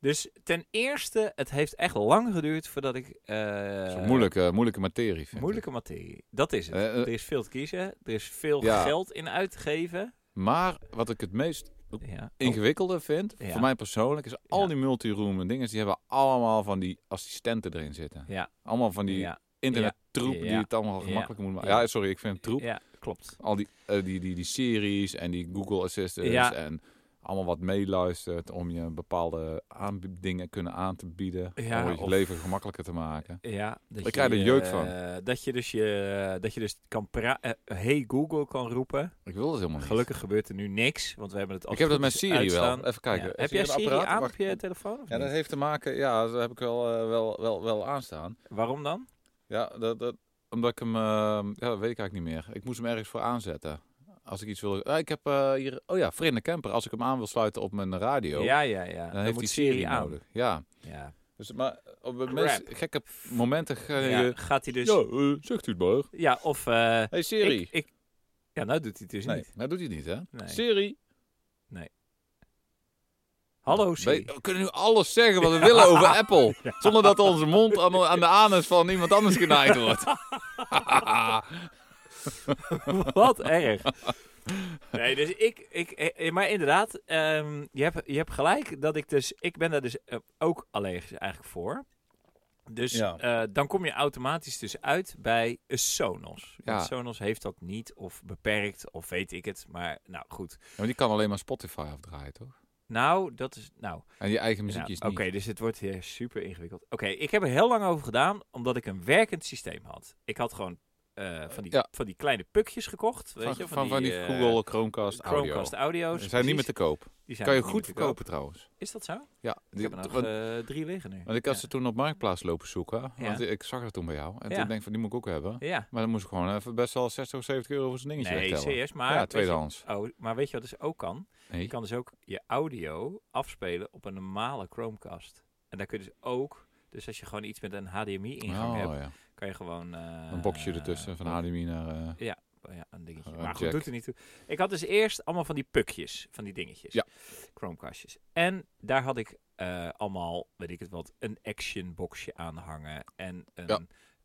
[SPEAKER 1] Dus ten eerste, het heeft echt lang geduurd voordat ik... eh,
[SPEAKER 2] Zo'n moeilijke, moeilijke materie. Vind ik.
[SPEAKER 1] Moeilijke materie. Dat is het.
[SPEAKER 2] Eh, eh.
[SPEAKER 1] er is veel te kiezen. Er is veel
[SPEAKER 2] Ja.
[SPEAKER 1] geld in uit te geven.
[SPEAKER 2] Maar wat ik het meest
[SPEAKER 1] Ja.
[SPEAKER 2] ingewikkelde vind,
[SPEAKER 1] Ja.
[SPEAKER 2] voor mij persoonlijk, is al
[SPEAKER 1] Ja.
[SPEAKER 2] die multi-room en dingen, die hebben allemaal van die assistenten erin zitten.
[SPEAKER 1] Ja.
[SPEAKER 2] Allemaal van die
[SPEAKER 1] ja,
[SPEAKER 2] internettroep die
[SPEAKER 1] Ja.
[SPEAKER 2] het allemaal
[SPEAKER 1] Ja.
[SPEAKER 2] gemakkelijker moet maken.
[SPEAKER 1] Ja.
[SPEAKER 2] Ja, sorry, ik vind het troep.
[SPEAKER 1] ja, klopt.
[SPEAKER 2] al die, eh, die, die, die series en die Google Assistants
[SPEAKER 1] Ja.
[SPEAKER 2] en allemaal wat meeluistert om je bepaalde aanb- dingen kunnen aan te bieden.
[SPEAKER 1] Ja,
[SPEAKER 2] om je
[SPEAKER 1] of-
[SPEAKER 2] leven gemakkelijker te maken.
[SPEAKER 1] Ja, dat
[SPEAKER 2] Ik krijg er
[SPEAKER 1] je,
[SPEAKER 2] jeuk van.
[SPEAKER 1] eh, dat je dus, je, dat je dus kan pra- eh, hey Google kan roepen.
[SPEAKER 2] Ik wil dat helemaal niet.
[SPEAKER 1] Gelukkig gebeurt er nu niks, want we hebben het al.
[SPEAKER 2] Ik heb dat met Siri wel. Even kijken.
[SPEAKER 1] Ja,
[SPEAKER 2] Is
[SPEAKER 1] Heb
[SPEAKER 2] hier
[SPEAKER 1] jij
[SPEAKER 2] een
[SPEAKER 1] Siri
[SPEAKER 2] apparaat?
[SPEAKER 1] aan
[SPEAKER 2] Wacht.
[SPEAKER 1] op je telefoon? of
[SPEAKER 2] Ja, dat
[SPEAKER 1] niet?
[SPEAKER 2] heeft te maken, ja, dat heb ik wel, eh, wel, wel, wel aanstaan.
[SPEAKER 1] Waarom dan?
[SPEAKER 2] Ja, dat, dat, omdat ik hem, eh, ja, dat weet ik eigenlijk niet meer. Ik moest hem ergens voor aanzetten. Als ik iets wil, ah, ik heb eh, hier, oh ja, Vrienden Camper. Als ik hem aan wil sluiten op mijn radio,
[SPEAKER 1] Ja, ja, ja.
[SPEAKER 2] dan, heeft hij Siri nodig. Ja,
[SPEAKER 1] Ja.
[SPEAKER 2] dus, maar op het meest gekke momenten ga je,
[SPEAKER 1] Ja, gaat hij dus?
[SPEAKER 2] Ja, eh, zegt u het maar.
[SPEAKER 1] Ja, of eh,
[SPEAKER 2] Hey Siri.
[SPEAKER 1] Ik, ik- ja, nou doet hij het dus
[SPEAKER 2] nee,
[SPEAKER 1] niet.
[SPEAKER 2] dat doet hij niet, hè?
[SPEAKER 1] Nee.
[SPEAKER 2] Siri.
[SPEAKER 1] Hallo Siri.
[SPEAKER 2] We, we kunnen nu alles zeggen wat we willen over Apple. Zonder dat onze mond aan, aan de anus van iemand anders genaaid wordt.
[SPEAKER 1] Wat erg. Nee, dus ik, ik eh, maar inderdaad, ehm, je, hebt, je hebt gelijk dat ik dus, ik ben daar dus eh, ook allergisch eigenlijk voor. Dus
[SPEAKER 2] Ja.
[SPEAKER 1] eh, dan kom je automatisch dus uit bij een Sonos. Want
[SPEAKER 2] Ja.
[SPEAKER 1] Sonos heeft dat niet of beperkt of weet ik het, maar nou goed.
[SPEAKER 2] Ja, maar die kan alleen maar Spotify afdraaien, toch?
[SPEAKER 1] Nou, dat is, nou,
[SPEAKER 2] En je eigen
[SPEAKER 1] nou,
[SPEAKER 2] muziekjes
[SPEAKER 1] oké,
[SPEAKER 2] niet.
[SPEAKER 1] dus het wordt hier super ingewikkeld. Oké, ik heb er heel lang over gedaan, omdat ik een werkend systeem had. Ik had gewoon eh, van, die,
[SPEAKER 2] Ja.
[SPEAKER 1] van die kleine pukjes gekocht, weet
[SPEAKER 2] Van,
[SPEAKER 1] je.
[SPEAKER 2] van, van, die
[SPEAKER 1] eh,
[SPEAKER 2] Google Chromecast,
[SPEAKER 1] Chromecast
[SPEAKER 2] audio.
[SPEAKER 1] audio's.
[SPEAKER 2] Ze zijn niet meer te
[SPEAKER 1] precies.
[SPEAKER 2] koop.
[SPEAKER 1] Die zijn
[SPEAKER 2] Kan je
[SPEAKER 1] niet
[SPEAKER 2] goed
[SPEAKER 1] meer te koop.
[SPEAKER 2] verkopen trouwens.
[SPEAKER 1] Is dat zo?
[SPEAKER 2] Ja,
[SPEAKER 1] Ik
[SPEAKER 2] die-
[SPEAKER 1] heb er nog
[SPEAKER 2] want,
[SPEAKER 1] eh, drie liggen nu.
[SPEAKER 2] want ik had ze toen op Marktplaats lopen zoeken. Want
[SPEAKER 1] Ja.
[SPEAKER 2] ik zag dat toen bij jou. En
[SPEAKER 1] Ja.
[SPEAKER 2] toen denk ik van, die moet ik ook hebben.
[SPEAKER 1] Ja.
[SPEAKER 2] Maar dan moest ik gewoon even best wel 60 of 70 euro voor zo'n dingetje
[SPEAKER 1] Nee,
[SPEAKER 2] wegtellen.
[SPEAKER 1] serieus. Maar,
[SPEAKER 2] ja,
[SPEAKER 1] weet
[SPEAKER 2] tweedehands.
[SPEAKER 1] je, oh, maar weet je wat dus ook kan?
[SPEAKER 2] Nee.
[SPEAKER 1] Je kan dus ook je audio afspelen op een normale Chromecast. En daar kun je dus ook... Dus als je gewoon iets met een HDMI-ingang
[SPEAKER 2] Oh,
[SPEAKER 1] hebt,
[SPEAKER 2] ja.
[SPEAKER 1] kan je gewoon... eh,
[SPEAKER 2] Een boxje ertussen van HDMI naar... eh,
[SPEAKER 1] Oh Ja, een dingetje.
[SPEAKER 2] Een
[SPEAKER 1] maar goed,
[SPEAKER 2] jack.
[SPEAKER 1] doet er niet toe. Ik had dus eerst allemaal van die pukjes, van die dingetjes.
[SPEAKER 2] Ja.
[SPEAKER 1] Chromecastjes. En daar had ik eh, allemaal, weet ik het wat, een action boxje aan hangen. En een,
[SPEAKER 2] Ja.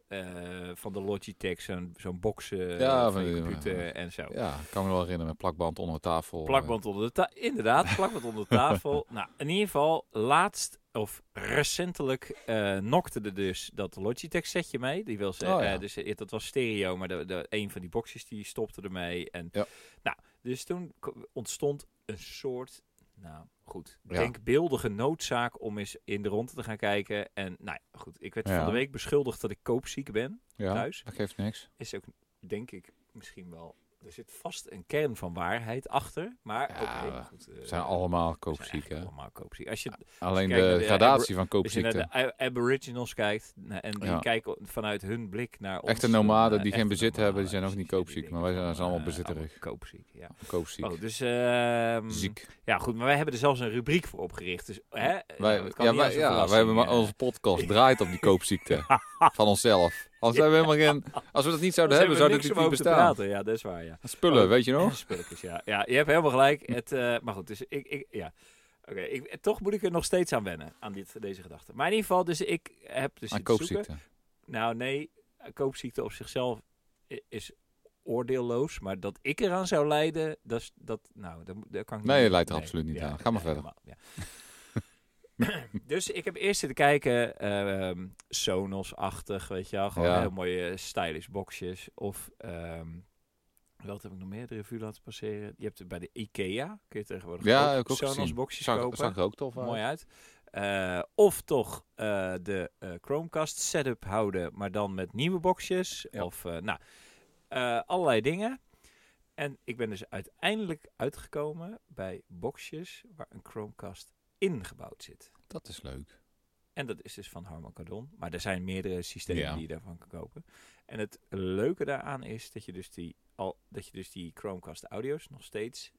[SPEAKER 1] eh, van de Logitech, zo'n zo'n boxen eh,
[SPEAKER 2] Ja,
[SPEAKER 1] van
[SPEAKER 2] van
[SPEAKER 1] je
[SPEAKER 2] die-
[SPEAKER 1] computer en zo.
[SPEAKER 2] ja, ik kan me wel herinneren met plakband onder de tafel. eh,
[SPEAKER 1] Plakband onder de tafel. Inderdaad, plakband onder de tafel. nou, in ieder geval, laatst of recentelijk eh nokte er dus dat Logitech setje mee. Die wil ze,
[SPEAKER 2] Oh, ja.
[SPEAKER 1] eh, dus, eh, dat was stereo, maar de, de, een van die boxjes die stopte ermee. En,
[SPEAKER 2] Ja.
[SPEAKER 1] nou, dus toen k- ontstond een soort, nou goed,
[SPEAKER 2] Ja.
[SPEAKER 1] denkbeeldige noodzaak om eens in de ronde te gaan kijken. En nou ja, goed, ik werd
[SPEAKER 2] Ja.
[SPEAKER 1] van de week beschuldigd dat ik koopziek ben
[SPEAKER 2] Ja,
[SPEAKER 1] thuis. Eh,
[SPEAKER 2] dat geeft niks.
[SPEAKER 1] Is ook, denk ik, misschien wel... Er zit vast een kern van waarheid achter, maar
[SPEAKER 2] Ja,
[SPEAKER 1] oké,
[SPEAKER 2] we
[SPEAKER 1] goed,
[SPEAKER 2] We
[SPEAKER 1] eh,
[SPEAKER 2] zijn allemaal
[SPEAKER 1] we zijn
[SPEAKER 2] koopziek,
[SPEAKER 1] eigenlijk
[SPEAKER 2] hè?
[SPEAKER 1] allemaal koopziek. Als je
[SPEAKER 2] Alleen
[SPEAKER 1] kijkt naar
[SPEAKER 2] de
[SPEAKER 1] de
[SPEAKER 2] gradatie van
[SPEAKER 1] als je naar
[SPEAKER 2] koopziekte.
[SPEAKER 1] de a- aboriginals kijkt na- en die
[SPEAKER 2] Ja.
[SPEAKER 1] kijken vanuit hun blik naar ons.
[SPEAKER 2] Echte nomaden
[SPEAKER 1] eh,
[SPEAKER 2] die geen
[SPEAKER 1] echte
[SPEAKER 2] bezit hebben, die
[SPEAKER 1] nomaden,
[SPEAKER 2] zijn ook niet
[SPEAKER 1] precies, die
[SPEAKER 2] koopziek,
[SPEAKER 1] denken
[SPEAKER 2] maar wij
[SPEAKER 1] van,
[SPEAKER 2] zijn- zijn allemaal
[SPEAKER 1] eh,
[SPEAKER 2] bezitterig.
[SPEAKER 1] allemaal koopziek, ja.
[SPEAKER 2] Koopziek.
[SPEAKER 1] Oh, dus, ehm,
[SPEAKER 2] Ziek.
[SPEAKER 1] ja goed, maar wij hebben er zelfs een rubriek voor opgericht. Dus, hè,
[SPEAKER 2] Wij,
[SPEAKER 1] nou, het kan
[SPEAKER 2] ja,
[SPEAKER 1] niet
[SPEAKER 2] wij,
[SPEAKER 1] als een
[SPEAKER 2] ja, wij
[SPEAKER 1] verrassing,
[SPEAKER 2] hebben maar,
[SPEAKER 1] eh.
[SPEAKER 2] onze podcast draait op die koopziekte van onszelf. Anders zijn we helemaal geen, als we dat niet zouden
[SPEAKER 1] Anders
[SPEAKER 2] hebben, zou dit
[SPEAKER 1] niks om
[SPEAKER 2] natuurlijk
[SPEAKER 1] over
[SPEAKER 2] niet
[SPEAKER 1] te
[SPEAKER 2] bestaan.
[SPEAKER 1] praten. Ja, dat is waar, ja.
[SPEAKER 2] Spullen,
[SPEAKER 1] Oh.
[SPEAKER 2] weet je nog?
[SPEAKER 1] Spulletjes, ja. Ja, je hebt helemaal gelijk. Het, eh, maar goed, dus ik, ik ja. Oké, ik- toch moet ik er nog steeds aan wennen, aan dit, deze gedachte. Maar in ieder geval, dus ik heb dus
[SPEAKER 2] Aan
[SPEAKER 1] zitten zoeken.
[SPEAKER 2] koopziekte.
[SPEAKER 1] Nou, nee, koopziekte op zichzelf i- is oordeelloos. Maar dat ik eraan zou lijden, dat, is- dat nou, daar, mo- daar kan ik
[SPEAKER 2] Nee,
[SPEAKER 1] niet-
[SPEAKER 2] je lijdt er absoluut niet aan. Ga maar verder.
[SPEAKER 1] helemaal, ja. dus ik heb eerst zitten kijken, ehm, Sonos-achtig, weet je wel. Gewoon
[SPEAKER 2] Ja.
[SPEAKER 1] heel mooie stylish boxjes. Of, ehm wat heb ik nog meer de revue laten passeren? Je hebt er bij de Ikea, kun je tegenwoordig
[SPEAKER 2] Ja,
[SPEAKER 1] ook
[SPEAKER 2] heb ik ook gezien.
[SPEAKER 1] Sonos-boxjes
[SPEAKER 2] Zag,
[SPEAKER 1] kopen.
[SPEAKER 2] zag er ook tof uit.
[SPEAKER 1] Mooi uit. Eh, of toch eh, de eh, Chromecast setup houden, maar dan met nieuwe boxjes.
[SPEAKER 2] Ja.
[SPEAKER 1] Of eh, nou, eh, allerlei dingen. En ik ben dus uiteindelijk uitgekomen bij boxjes waar een Chromecast ingebouwd zit.
[SPEAKER 2] Dat is leuk.
[SPEAKER 1] En dat is dus van Harman Kardon. Maar er zijn meerdere systemen
[SPEAKER 2] Ja.
[SPEAKER 1] die je daarvan kan kopen. En het leuke daaraan is dat je dus die, al, dat je dus die Chromecast audio's nog steeds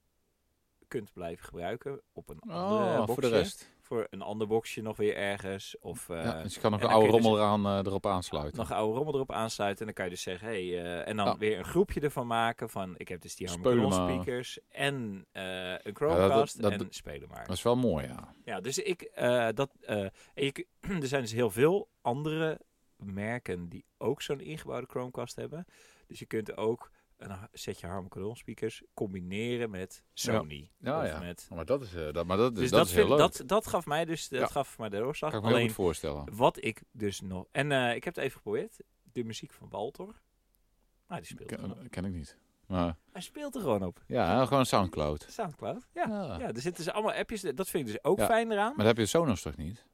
[SPEAKER 1] kunt blijven gebruiken op een andere
[SPEAKER 2] Oh, voor de
[SPEAKER 1] boxje
[SPEAKER 2] rest.
[SPEAKER 1] voor een ander boxje nog weer ergens. Of eh,
[SPEAKER 2] Ja, dus je kan nog
[SPEAKER 1] en
[SPEAKER 2] een
[SPEAKER 1] dan
[SPEAKER 2] oude
[SPEAKER 1] kun je
[SPEAKER 2] rommel eraan, eh, erop aansluiten.
[SPEAKER 1] nog oude rommel erop aansluiten. En dan kan je dus zeggen, hey, eh, en dan
[SPEAKER 2] Ja.
[SPEAKER 1] weer een groepje ervan maken. Van, ik heb dus die
[SPEAKER 2] Spelen
[SPEAKER 1] Harman
[SPEAKER 2] maar.
[SPEAKER 1] speakers en eh, een Chromecast
[SPEAKER 2] dat-
[SPEAKER 1] en spelen maar.
[SPEAKER 2] Dat is wel mooi, ja.
[SPEAKER 1] Ja, dus ik, eh, dat, eh, en je kun- er zijn dus heel veel andere merken die ook zo'n ingebouwde Chromecast hebben. Dus je kunt ook een ha- setje Harman Kardon speakers combineren met Sony.
[SPEAKER 2] Ja,
[SPEAKER 1] of
[SPEAKER 2] ja.
[SPEAKER 1] Met,
[SPEAKER 2] Maar dat is, eh, dat, maar dat, is-
[SPEAKER 1] dus
[SPEAKER 2] dat
[SPEAKER 1] dat,
[SPEAKER 2] is heel
[SPEAKER 1] vind,
[SPEAKER 2] leuk.
[SPEAKER 1] dat, dat gaf mij dus dat
[SPEAKER 2] Ja.
[SPEAKER 1] gaf mij de doorslag.
[SPEAKER 2] kan ik me heel
[SPEAKER 1] Alleen
[SPEAKER 2] goed voorstellen.
[SPEAKER 1] Wat ik dus nog... En eh, ik heb het even geprobeerd. De muziek van Walter. Nou, die speelt er gewoon op.
[SPEAKER 2] Ken, ken ik niet. Maar,
[SPEAKER 1] Hij speelt er gewoon op.
[SPEAKER 2] ja, gewoon Soundcloud.
[SPEAKER 1] Soundcloud. Ja.
[SPEAKER 2] Ja.
[SPEAKER 1] Ja, er zitten dus allemaal appjes. Dat vind ik dus ook
[SPEAKER 2] Ja.
[SPEAKER 1] fijn eraan.
[SPEAKER 2] Maar dat heb je Sonos toch niet?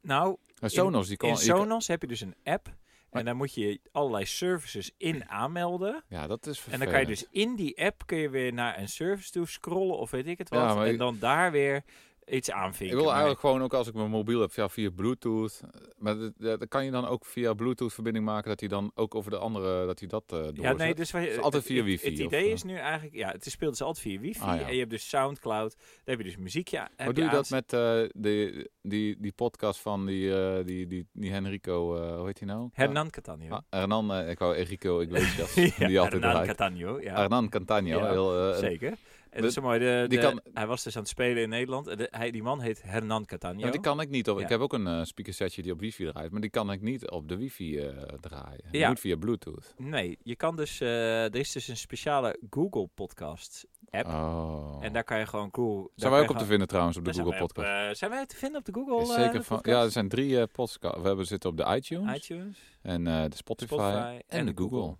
[SPEAKER 1] Nou,
[SPEAKER 2] En Sonos, die kan...
[SPEAKER 1] in
[SPEAKER 2] je kan-
[SPEAKER 1] Sonos heb je dus een app.
[SPEAKER 2] Maar-
[SPEAKER 1] En daar moet je allerlei services in aanmelden.
[SPEAKER 2] ja, dat is
[SPEAKER 1] En
[SPEAKER 2] vervelend.
[SPEAKER 1] dan kan je dus in die app kun je weer naar een service toe scrollen of weet ik het wat.
[SPEAKER 2] Ja, maar
[SPEAKER 1] en
[SPEAKER 2] ik-
[SPEAKER 1] dan daar weer iets aanvinken.
[SPEAKER 2] Ik wil
[SPEAKER 1] Maar-
[SPEAKER 2] eigenlijk gewoon ook als ik mijn mobiel heb ja, via Bluetooth. eh, Maar dat, dat kan je dan ook via Bluetooth verbinding maken dat hij dan ook over de andere, dat hij dat eh doorzet.
[SPEAKER 1] Ja, nee, dus wat je-
[SPEAKER 2] is altijd via
[SPEAKER 1] het-
[SPEAKER 2] wifi,
[SPEAKER 1] Het,
[SPEAKER 2] of,
[SPEAKER 1] idee
[SPEAKER 2] eh?
[SPEAKER 1] is nu eigenlijk, ja, het speelt dus altijd via wifi.
[SPEAKER 2] Ah, ja.
[SPEAKER 1] En je hebt dus Soundcloud, daar heb je dus muziekje. heb
[SPEAKER 2] Maar doe je dat
[SPEAKER 1] aan-
[SPEAKER 2] met eh, die, die, die podcast van die, eh, die, die, die Henrico, eh, hoe heet hij nou?
[SPEAKER 1] Hernan Catania.
[SPEAKER 2] Ah, Hernan, eh, ik wou Enrico, ik weet het,
[SPEAKER 1] Ja,
[SPEAKER 2] die altijd
[SPEAKER 1] Hernan
[SPEAKER 2] draait.
[SPEAKER 1] Catania, ja.
[SPEAKER 2] Hernan Cantagno,
[SPEAKER 1] Ja,
[SPEAKER 2] heel, eh,
[SPEAKER 1] zeker. En dat
[SPEAKER 2] de-
[SPEAKER 1] is zo mooi. De,
[SPEAKER 2] die
[SPEAKER 1] de-
[SPEAKER 2] kan-
[SPEAKER 1] hij was dus aan het spelen in Nederland. En de- hij, die man heet Hernan Catania.
[SPEAKER 2] Ja, Nou, die kan ik niet op. Ik
[SPEAKER 1] Ja.
[SPEAKER 2] heb ook een eh speakersetje die op wifi draait, maar die kan ik niet op de wifi eh, draaien. Die
[SPEAKER 1] Ja.
[SPEAKER 2] moet via Bluetooth.
[SPEAKER 1] Nee, je kan dus, eh, er is dus een speciale Google podcast. App.
[SPEAKER 2] Oh.
[SPEAKER 1] En daar kan je gewoon cool.
[SPEAKER 2] zijn wij ook op te vinden trouwens op de Google Podcast.
[SPEAKER 1] Podcast. Zijn wij te vinden op de Google
[SPEAKER 2] Is
[SPEAKER 1] eh,
[SPEAKER 2] zeker van, ja, er
[SPEAKER 1] podcast?
[SPEAKER 2] zijn drie podcasts. We hebben zitten op de iTunes,
[SPEAKER 1] iTunes,
[SPEAKER 2] en eh, de Spotify,
[SPEAKER 1] Spotify,
[SPEAKER 2] en, de Google.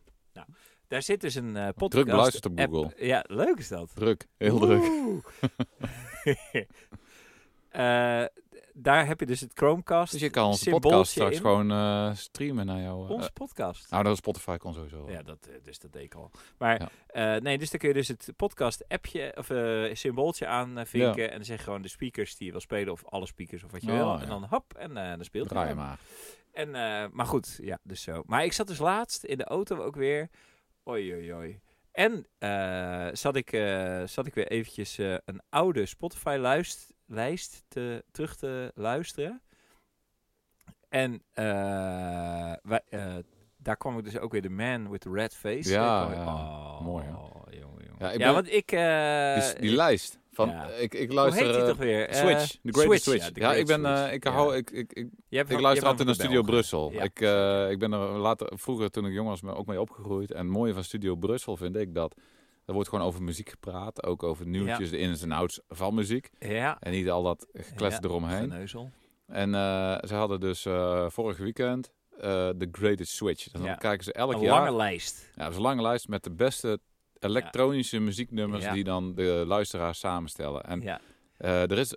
[SPEAKER 1] Daar zit dus een eh, podcast.
[SPEAKER 2] Druk beluisterd op
[SPEAKER 1] app.
[SPEAKER 2] Google.
[SPEAKER 1] Ja, leuk is dat.
[SPEAKER 2] Druk, heel druk.
[SPEAKER 1] Oeh. Eh, d- daar heb je dus het Chromecast.
[SPEAKER 2] Dus je kan onze
[SPEAKER 1] symbooltje
[SPEAKER 2] podcast straks
[SPEAKER 1] in.
[SPEAKER 2] gewoon eh, streamen naar jou. eh,
[SPEAKER 1] Onze podcast.
[SPEAKER 2] nou, dat Spotify kon sowieso.
[SPEAKER 1] Ja, dat, eh, dus dat deed ik al. Maar eh, nee, dus dan kun je dus het podcast-appje of eh, symbooltje aanvinken. En dan zeg je gewoon de speakers die je wil spelen of alle speakers of wat je
[SPEAKER 2] Oh,
[SPEAKER 1] wil.
[SPEAKER 2] ja.
[SPEAKER 1] En dan hap, en eh, dan speelt
[SPEAKER 2] Draai
[SPEAKER 1] hij.
[SPEAKER 2] maar.
[SPEAKER 1] En, eh, maar goed, ja, dus zo. Maar ik zat dus laatst in de auto ook weer. Oi, oi, oi. En eh, zat, ik, eh, zat ik weer eventjes eh, een oude Spotify-lijst te, terug te luisteren. En eh, wij, eh, daar kwam ik dus ook weer de man with the red face.
[SPEAKER 2] Ja,
[SPEAKER 1] Daar kwam ik-
[SPEAKER 2] ja.
[SPEAKER 1] oh,
[SPEAKER 2] Mooi, hè?
[SPEAKER 1] jongen, jongen.
[SPEAKER 2] Ja,
[SPEAKER 1] Ja,
[SPEAKER 2] ik ben-
[SPEAKER 1] want ik... eh,
[SPEAKER 2] die, die lijst van,
[SPEAKER 1] ja.
[SPEAKER 2] ik, ik
[SPEAKER 1] hoe
[SPEAKER 2] luister...
[SPEAKER 1] heet die
[SPEAKER 2] eh,
[SPEAKER 1] toch weer? Eh,
[SPEAKER 2] Switch, de Greatest Switch.
[SPEAKER 1] ja, de
[SPEAKER 2] Ja, ik
[SPEAKER 1] Great
[SPEAKER 2] ben, eh,
[SPEAKER 1] Switch.
[SPEAKER 2] ik
[SPEAKER 1] Ja.
[SPEAKER 2] hou, ik, ik, ik,
[SPEAKER 1] Jij bent
[SPEAKER 2] ik
[SPEAKER 1] van- jij
[SPEAKER 2] luister
[SPEAKER 1] bent
[SPEAKER 2] altijd naar
[SPEAKER 1] van
[SPEAKER 2] Studio
[SPEAKER 1] België.
[SPEAKER 2] Brussel.
[SPEAKER 1] Ja.
[SPEAKER 2] Ik, eh, ik ben er later, vroeger toen ik jong was, me ook mee opgegroeid. En het mooie van Studio Brussel vind ik dat Er wordt gewoon over muziek gepraat. Ook over nieuwtjes, de ins en outs van muziek.
[SPEAKER 1] Ja.
[SPEAKER 2] En niet al dat geklets
[SPEAKER 1] Ja,
[SPEAKER 2] eromheen.
[SPEAKER 1] Geneuzel.
[SPEAKER 2] En eh, ze hadden dus eh, vorig weekend eh The Greatest Switch. En dan
[SPEAKER 1] Ja.
[SPEAKER 2] kijken ze elk
[SPEAKER 1] Een
[SPEAKER 2] jaar...
[SPEAKER 1] lange lijst.
[SPEAKER 2] Ja, dat is een lange lijst met de beste elektronische muzieknummers
[SPEAKER 1] Ja.
[SPEAKER 2] die dan de luisteraars samenstellen. En
[SPEAKER 1] Ja,
[SPEAKER 2] eh, er is...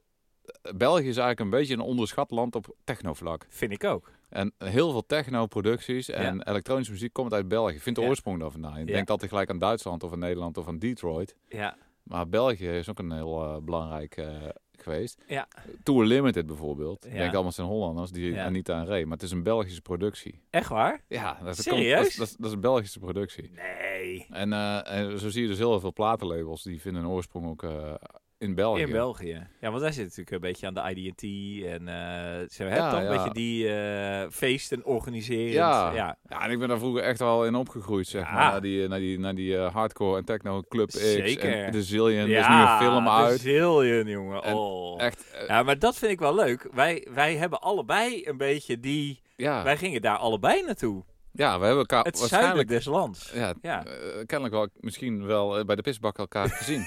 [SPEAKER 2] België is eigenlijk een beetje een onderschat land op technovlak.
[SPEAKER 1] vind ik ook.
[SPEAKER 2] En heel veel techno-producties en elektronische muziek komt uit België. Vindt de
[SPEAKER 1] Ja.
[SPEAKER 2] oorsprong daar vandaan. Je
[SPEAKER 1] Ja.
[SPEAKER 2] denkt altijd gelijk aan Duitsland of aan Nederland of aan Detroit.
[SPEAKER 1] Ja,
[SPEAKER 2] Maar België is ook een heel eh, belangrijk eh, geweest.
[SPEAKER 1] Ja.
[SPEAKER 2] Tour Limited bijvoorbeeld.
[SPEAKER 1] Ja.
[SPEAKER 2] Ik Denk allemaal zijn Hollanders die
[SPEAKER 1] Ja.
[SPEAKER 2] er niet aan reed. Maar het is een Belgische productie.
[SPEAKER 1] echt waar?
[SPEAKER 2] Ja, dat komt-
[SPEAKER 1] Serieus?
[SPEAKER 2] dat, is- dat, is- dat is een Belgische productie.
[SPEAKER 1] Nee.
[SPEAKER 2] En, eh, en zo zie je dus heel veel platenlabels die vinden hun oorsprong ook eh, in België.
[SPEAKER 1] In België. Ja, want daar zit natuurlijk een beetje aan de IDT en eh ze hebben
[SPEAKER 2] Ja,
[SPEAKER 1] toch een
[SPEAKER 2] ja.
[SPEAKER 1] beetje die eh, feesten organiseren.
[SPEAKER 2] Ja.
[SPEAKER 1] ja,
[SPEAKER 2] Ja, en ik ben daar vroeger echt wel in opgegroeid, zeg
[SPEAKER 1] Ja.
[SPEAKER 2] maar. Naar die, naar die, naar die eh, hardcore en techno Club X.
[SPEAKER 1] Zeker.
[SPEAKER 2] En de Zillion. Er is nu
[SPEAKER 1] ja
[SPEAKER 2] een film uit.
[SPEAKER 1] Brazilian, jongen.
[SPEAKER 2] En
[SPEAKER 1] oh.
[SPEAKER 2] Echt, eh,
[SPEAKER 1] Ja, maar dat vind ik wel leuk. Wij, wij hebben allebei een beetje die...
[SPEAKER 2] ja.
[SPEAKER 1] Wij gingen daar allebei naartoe.
[SPEAKER 2] ja, we hebben elkaar
[SPEAKER 1] Het zuiden
[SPEAKER 2] waarschijnlijk...
[SPEAKER 1] des lands.
[SPEAKER 2] Ja,
[SPEAKER 1] Ja.
[SPEAKER 2] eh, kennelijk wel misschien wel eh, bij de pisbak elkaar gezien.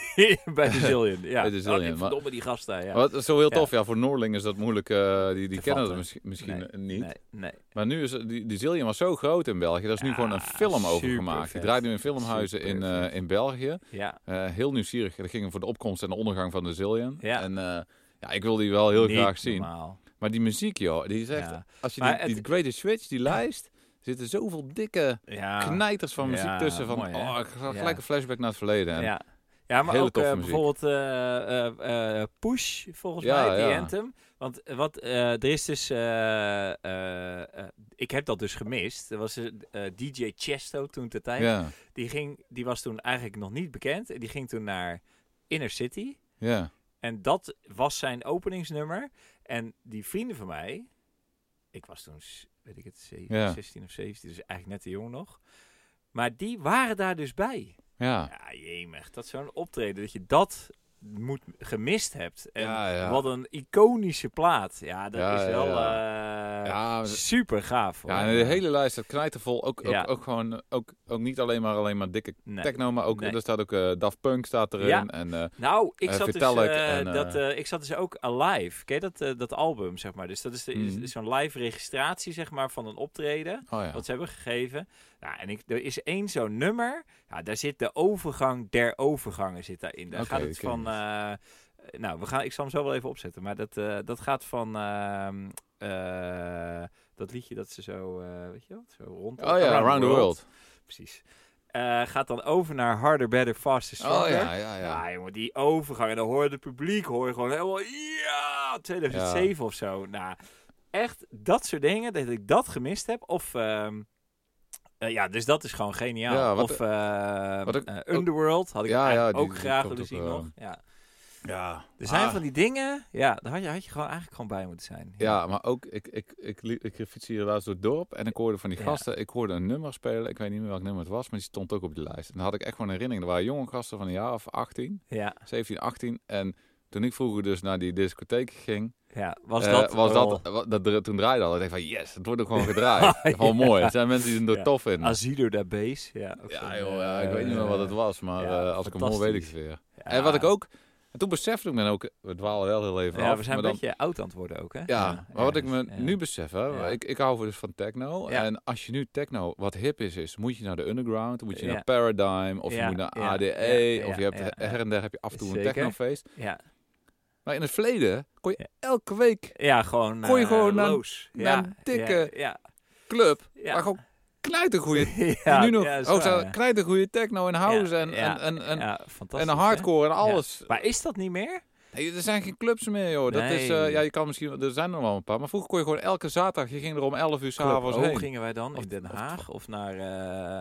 [SPEAKER 1] Bij de Zillion. Ja.
[SPEAKER 2] Bij de Zillion,
[SPEAKER 1] Oh, nee,
[SPEAKER 2] maar-
[SPEAKER 1] verdomme die gast daar, ja.
[SPEAKER 2] Wat is zo heel
[SPEAKER 1] Ja.
[SPEAKER 2] tof. Ja, voor Noorling is dat moeilijk. eh, die die
[SPEAKER 1] Te
[SPEAKER 2] kennen
[SPEAKER 1] vatten.
[SPEAKER 2] dat misschien, misschien
[SPEAKER 1] Nee,
[SPEAKER 2] niet.
[SPEAKER 1] Nee, nee.
[SPEAKER 2] Maar nu is die, die Zillion was zo groot in België. Daar is nu
[SPEAKER 1] Ja,
[SPEAKER 2] gewoon een film over
[SPEAKER 1] super
[SPEAKER 2] gemaakt.
[SPEAKER 1] vet.
[SPEAKER 2] Die draait nu in filmhuizen in, eh,
[SPEAKER 1] Supervet.
[SPEAKER 2] in België.
[SPEAKER 1] Ja.
[SPEAKER 2] Eh, heel nieuwsgierig. Dat ging voor de opkomst en de ondergang van de Zillion.
[SPEAKER 1] Ja.
[SPEAKER 2] En eh, ja, ik wil die wel heel
[SPEAKER 1] Niet
[SPEAKER 2] graag zien.
[SPEAKER 1] normaal.
[SPEAKER 2] Maar die muziek, joh. Die is echt,
[SPEAKER 1] Ja.
[SPEAKER 2] Als je die,
[SPEAKER 1] Maar
[SPEAKER 2] die
[SPEAKER 1] het-
[SPEAKER 2] Greatest Switch, die lijst... zitten zoveel dikke
[SPEAKER 1] Ja.
[SPEAKER 2] knijters van muziek
[SPEAKER 1] Ja,
[SPEAKER 2] tussen. Van,
[SPEAKER 1] mooi, hè?
[SPEAKER 2] oh, ik ga
[SPEAKER 1] Ja.
[SPEAKER 2] gelijk een flashback naar het verleden. En
[SPEAKER 1] Ja. Ja, maar
[SPEAKER 2] Hele
[SPEAKER 1] ook
[SPEAKER 2] toffe
[SPEAKER 1] eh,
[SPEAKER 2] muziek.
[SPEAKER 1] bijvoorbeeld eh, eh, eh, Push, volgens
[SPEAKER 2] Ja,
[SPEAKER 1] mij, die
[SPEAKER 2] ja.
[SPEAKER 1] anthem. Want eh, wat, eh, er is dus... eh, eh, eh, ik heb dat dus gemist. Er was eh, eh, DJ Chesto toen te tijd.
[SPEAKER 2] ja,
[SPEAKER 1] Die, ging, die was toen eigenlijk nog niet bekend. En die ging toen naar Inner City.
[SPEAKER 2] ja.
[SPEAKER 1] En dat was zijn openingsnummer. En die vrienden van mij, ik was toen, s- weet ik het, ze-
[SPEAKER 2] Ja.
[SPEAKER 1] 16 of 17, dus eigenlijk net te jong nog. Maar die waren daar dus bij.
[SPEAKER 2] ja.
[SPEAKER 1] Ja, jemig. Dat is zo'n optreden, dat je dat moet, gemist hebt. En
[SPEAKER 2] Ja, ja.
[SPEAKER 1] wat een iconische plaat. Ja, dat
[SPEAKER 2] Ja,
[SPEAKER 1] is
[SPEAKER 2] ja,
[SPEAKER 1] wel eh,
[SPEAKER 2] Ja,
[SPEAKER 1] super gaaf.
[SPEAKER 2] Ja, en de hele lijst staat knijtervol. Ook,
[SPEAKER 1] Ja.
[SPEAKER 2] ook, ook gewoon, ook, ook niet alleen maar, alleen maar dikke
[SPEAKER 1] Nee.
[SPEAKER 2] techno, maar ook,
[SPEAKER 1] Nee.
[SPEAKER 2] er staat ook eh Daft Punk staat erin.
[SPEAKER 1] Ja.
[SPEAKER 2] En, eh,
[SPEAKER 1] Nou, ik
[SPEAKER 2] Eh,
[SPEAKER 1] zat, dus,
[SPEAKER 2] Vitalik
[SPEAKER 1] eh,
[SPEAKER 2] en, eh,
[SPEAKER 1] dat, eh, ik zat dus ook Alive. Ken je dat, eh, dat album, zeg maar? Dus dat is, de- is-
[SPEAKER 2] Mhm.
[SPEAKER 1] is zo'n live registratie, zeg maar, van een optreden.
[SPEAKER 2] oh ja.
[SPEAKER 1] Wat ze hebben gegeven. Nou, en ik, er is één zo'n nummer. Ja, daar zit de overgang der overgangen zit daarin. Daar
[SPEAKER 2] Oké,
[SPEAKER 1] gaat
[SPEAKER 2] ik
[SPEAKER 1] het
[SPEAKER 2] ken
[SPEAKER 1] van...
[SPEAKER 2] het.
[SPEAKER 1] eh, nou, we gaan, ik zal hem zo wel even opzetten. Maar dat, eh, dat gaat van... ehm, eh, dat liedje dat ze zo... eh, weet je wat? Zo rond...
[SPEAKER 2] oh ja, Around the World.
[SPEAKER 1] Precies. Eh, gaat dan over naar Harder, Better, Faster, Stronger.
[SPEAKER 2] Oh ja, ja,
[SPEAKER 1] Ja,
[SPEAKER 2] ja.
[SPEAKER 1] Ah, jongen, die overgang. En dan hoor je het publiek hoor je gewoon helemaal... Ja, 2007 of zo. Nou, echt dat soort dingen, dat ik dat gemist heb. Of... ehm, eh, ja, dus dat is gewoon geniaal.
[SPEAKER 2] Ja, wat-
[SPEAKER 1] of eh,
[SPEAKER 2] wat ik-
[SPEAKER 1] eh, Underworld had ik
[SPEAKER 2] Ja, ja,
[SPEAKER 1] eigenlijk
[SPEAKER 2] die-
[SPEAKER 1] ook
[SPEAKER 2] die
[SPEAKER 1] graag
[SPEAKER 2] komt
[SPEAKER 1] willen zien
[SPEAKER 2] ook, eh,
[SPEAKER 1] nog. Ja.
[SPEAKER 2] Ja,
[SPEAKER 1] Er zijn
[SPEAKER 2] Ah.
[SPEAKER 1] van die dingen... Ja, daar had je, had je gewoon, eigenlijk gewoon bij moeten zijn.
[SPEAKER 2] ja maar ook, ik, ik, ik, li- ik fiets hier laatst door het dorp en ik hoorde van die
[SPEAKER 1] Ja.
[SPEAKER 2] gasten, ik hoorde een nummer spelen, ik weet niet meer welk nummer het was, maar die stond ook op die lijst. En dan had ik echt gewoon een herinnering, er waren jonge gasten van een jaar of 18,
[SPEAKER 1] Ja,
[SPEAKER 2] 17, 18. En toen ik vroeger dus naar die discotheek ging,
[SPEAKER 1] ja. Was
[SPEAKER 2] Eh,
[SPEAKER 1] dat... oh.
[SPEAKER 2] was
[SPEAKER 1] wel-
[SPEAKER 2] dat, wa- dat, dra- toen draaide al. Ik dacht van, yes, het wordt ook gewoon gedraaid. Gewoon mooi. Er zijn mensen die er
[SPEAKER 1] Ja.
[SPEAKER 2] tof in.
[SPEAKER 1] Asilo da Base. Ja, ook
[SPEAKER 2] ja,
[SPEAKER 1] zo'n,
[SPEAKER 2] joh, ja, ik
[SPEAKER 1] eh,
[SPEAKER 2] weet niet meer wat het was, maar
[SPEAKER 1] ja,
[SPEAKER 2] eh, als ik hem hoor, weet ik het weer.
[SPEAKER 1] ja.
[SPEAKER 2] En wat ik ook... En toen besefte ik me ook... We dwalen wel heel even
[SPEAKER 1] Ja,
[SPEAKER 2] af.
[SPEAKER 1] we zijn een
[SPEAKER 2] maar dan-
[SPEAKER 1] beetje oud aan het worden ook, hè?
[SPEAKER 2] Ja, maar wat ik me
[SPEAKER 1] dus, ja.
[SPEAKER 2] nu besef, hè,
[SPEAKER 1] Ja.
[SPEAKER 2] ik, ik hou dus van techno.
[SPEAKER 1] Ja.
[SPEAKER 2] En als je nu techno wat hip is, is, moet je naar de underground, dan moet je
[SPEAKER 1] Ja.
[SPEAKER 2] naar Paradigm, of je
[SPEAKER 1] Ja,
[SPEAKER 2] moet naar
[SPEAKER 1] ja,
[SPEAKER 2] ADE,
[SPEAKER 1] ja,
[SPEAKER 2] of je
[SPEAKER 1] ja,
[SPEAKER 2] hebt
[SPEAKER 1] ja, ja.
[SPEAKER 2] her en der heb je af en toe een
[SPEAKER 1] Zeker.
[SPEAKER 2] technofeest.
[SPEAKER 1] Ja,
[SPEAKER 2] Maar in het verleden kon je
[SPEAKER 1] Ja.
[SPEAKER 2] elke week
[SPEAKER 1] ja gewoon.
[SPEAKER 2] Gooi je
[SPEAKER 1] eh,
[SPEAKER 2] gewoon naar-
[SPEAKER 1] loos.
[SPEAKER 2] naar
[SPEAKER 1] ja,
[SPEAKER 2] een dikke-
[SPEAKER 1] Ja,
[SPEAKER 2] club,
[SPEAKER 1] ja.
[SPEAKER 2] waar gewoon knijtergoeie
[SPEAKER 1] Ja,
[SPEAKER 2] nu nog
[SPEAKER 1] ja,
[SPEAKER 2] ja,
[SPEAKER 1] is waar, ja.
[SPEAKER 2] goede techno en house
[SPEAKER 1] Ja,
[SPEAKER 2] en,
[SPEAKER 1] ja,
[SPEAKER 2] en, en, en,
[SPEAKER 1] ja,
[SPEAKER 2] en
[SPEAKER 1] fantastisch, hè?
[SPEAKER 2] hardcore en alles.
[SPEAKER 1] Maar is dat niet meer?
[SPEAKER 2] Nee, er zijn geen clubs meer, joh. Dat is, eh,
[SPEAKER 1] Nee.
[SPEAKER 2] ja, je kan misschien, er zijn er wel een paar. Maar vroeger kon je gewoon elke zaterdag, je ging er om 11 uur
[SPEAKER 1] Club
[SPEAKER 2] s'avonds
[SPEAKER 1] O
[SPEAKER 2] heen.
[SPEAKER 1] gingen wij dan?
[SPEAKER 2] Of-
[SPEAKER 1] in Den
[SPEAKER 2] of-
[SPEAKER 1] Haag? Of, naar.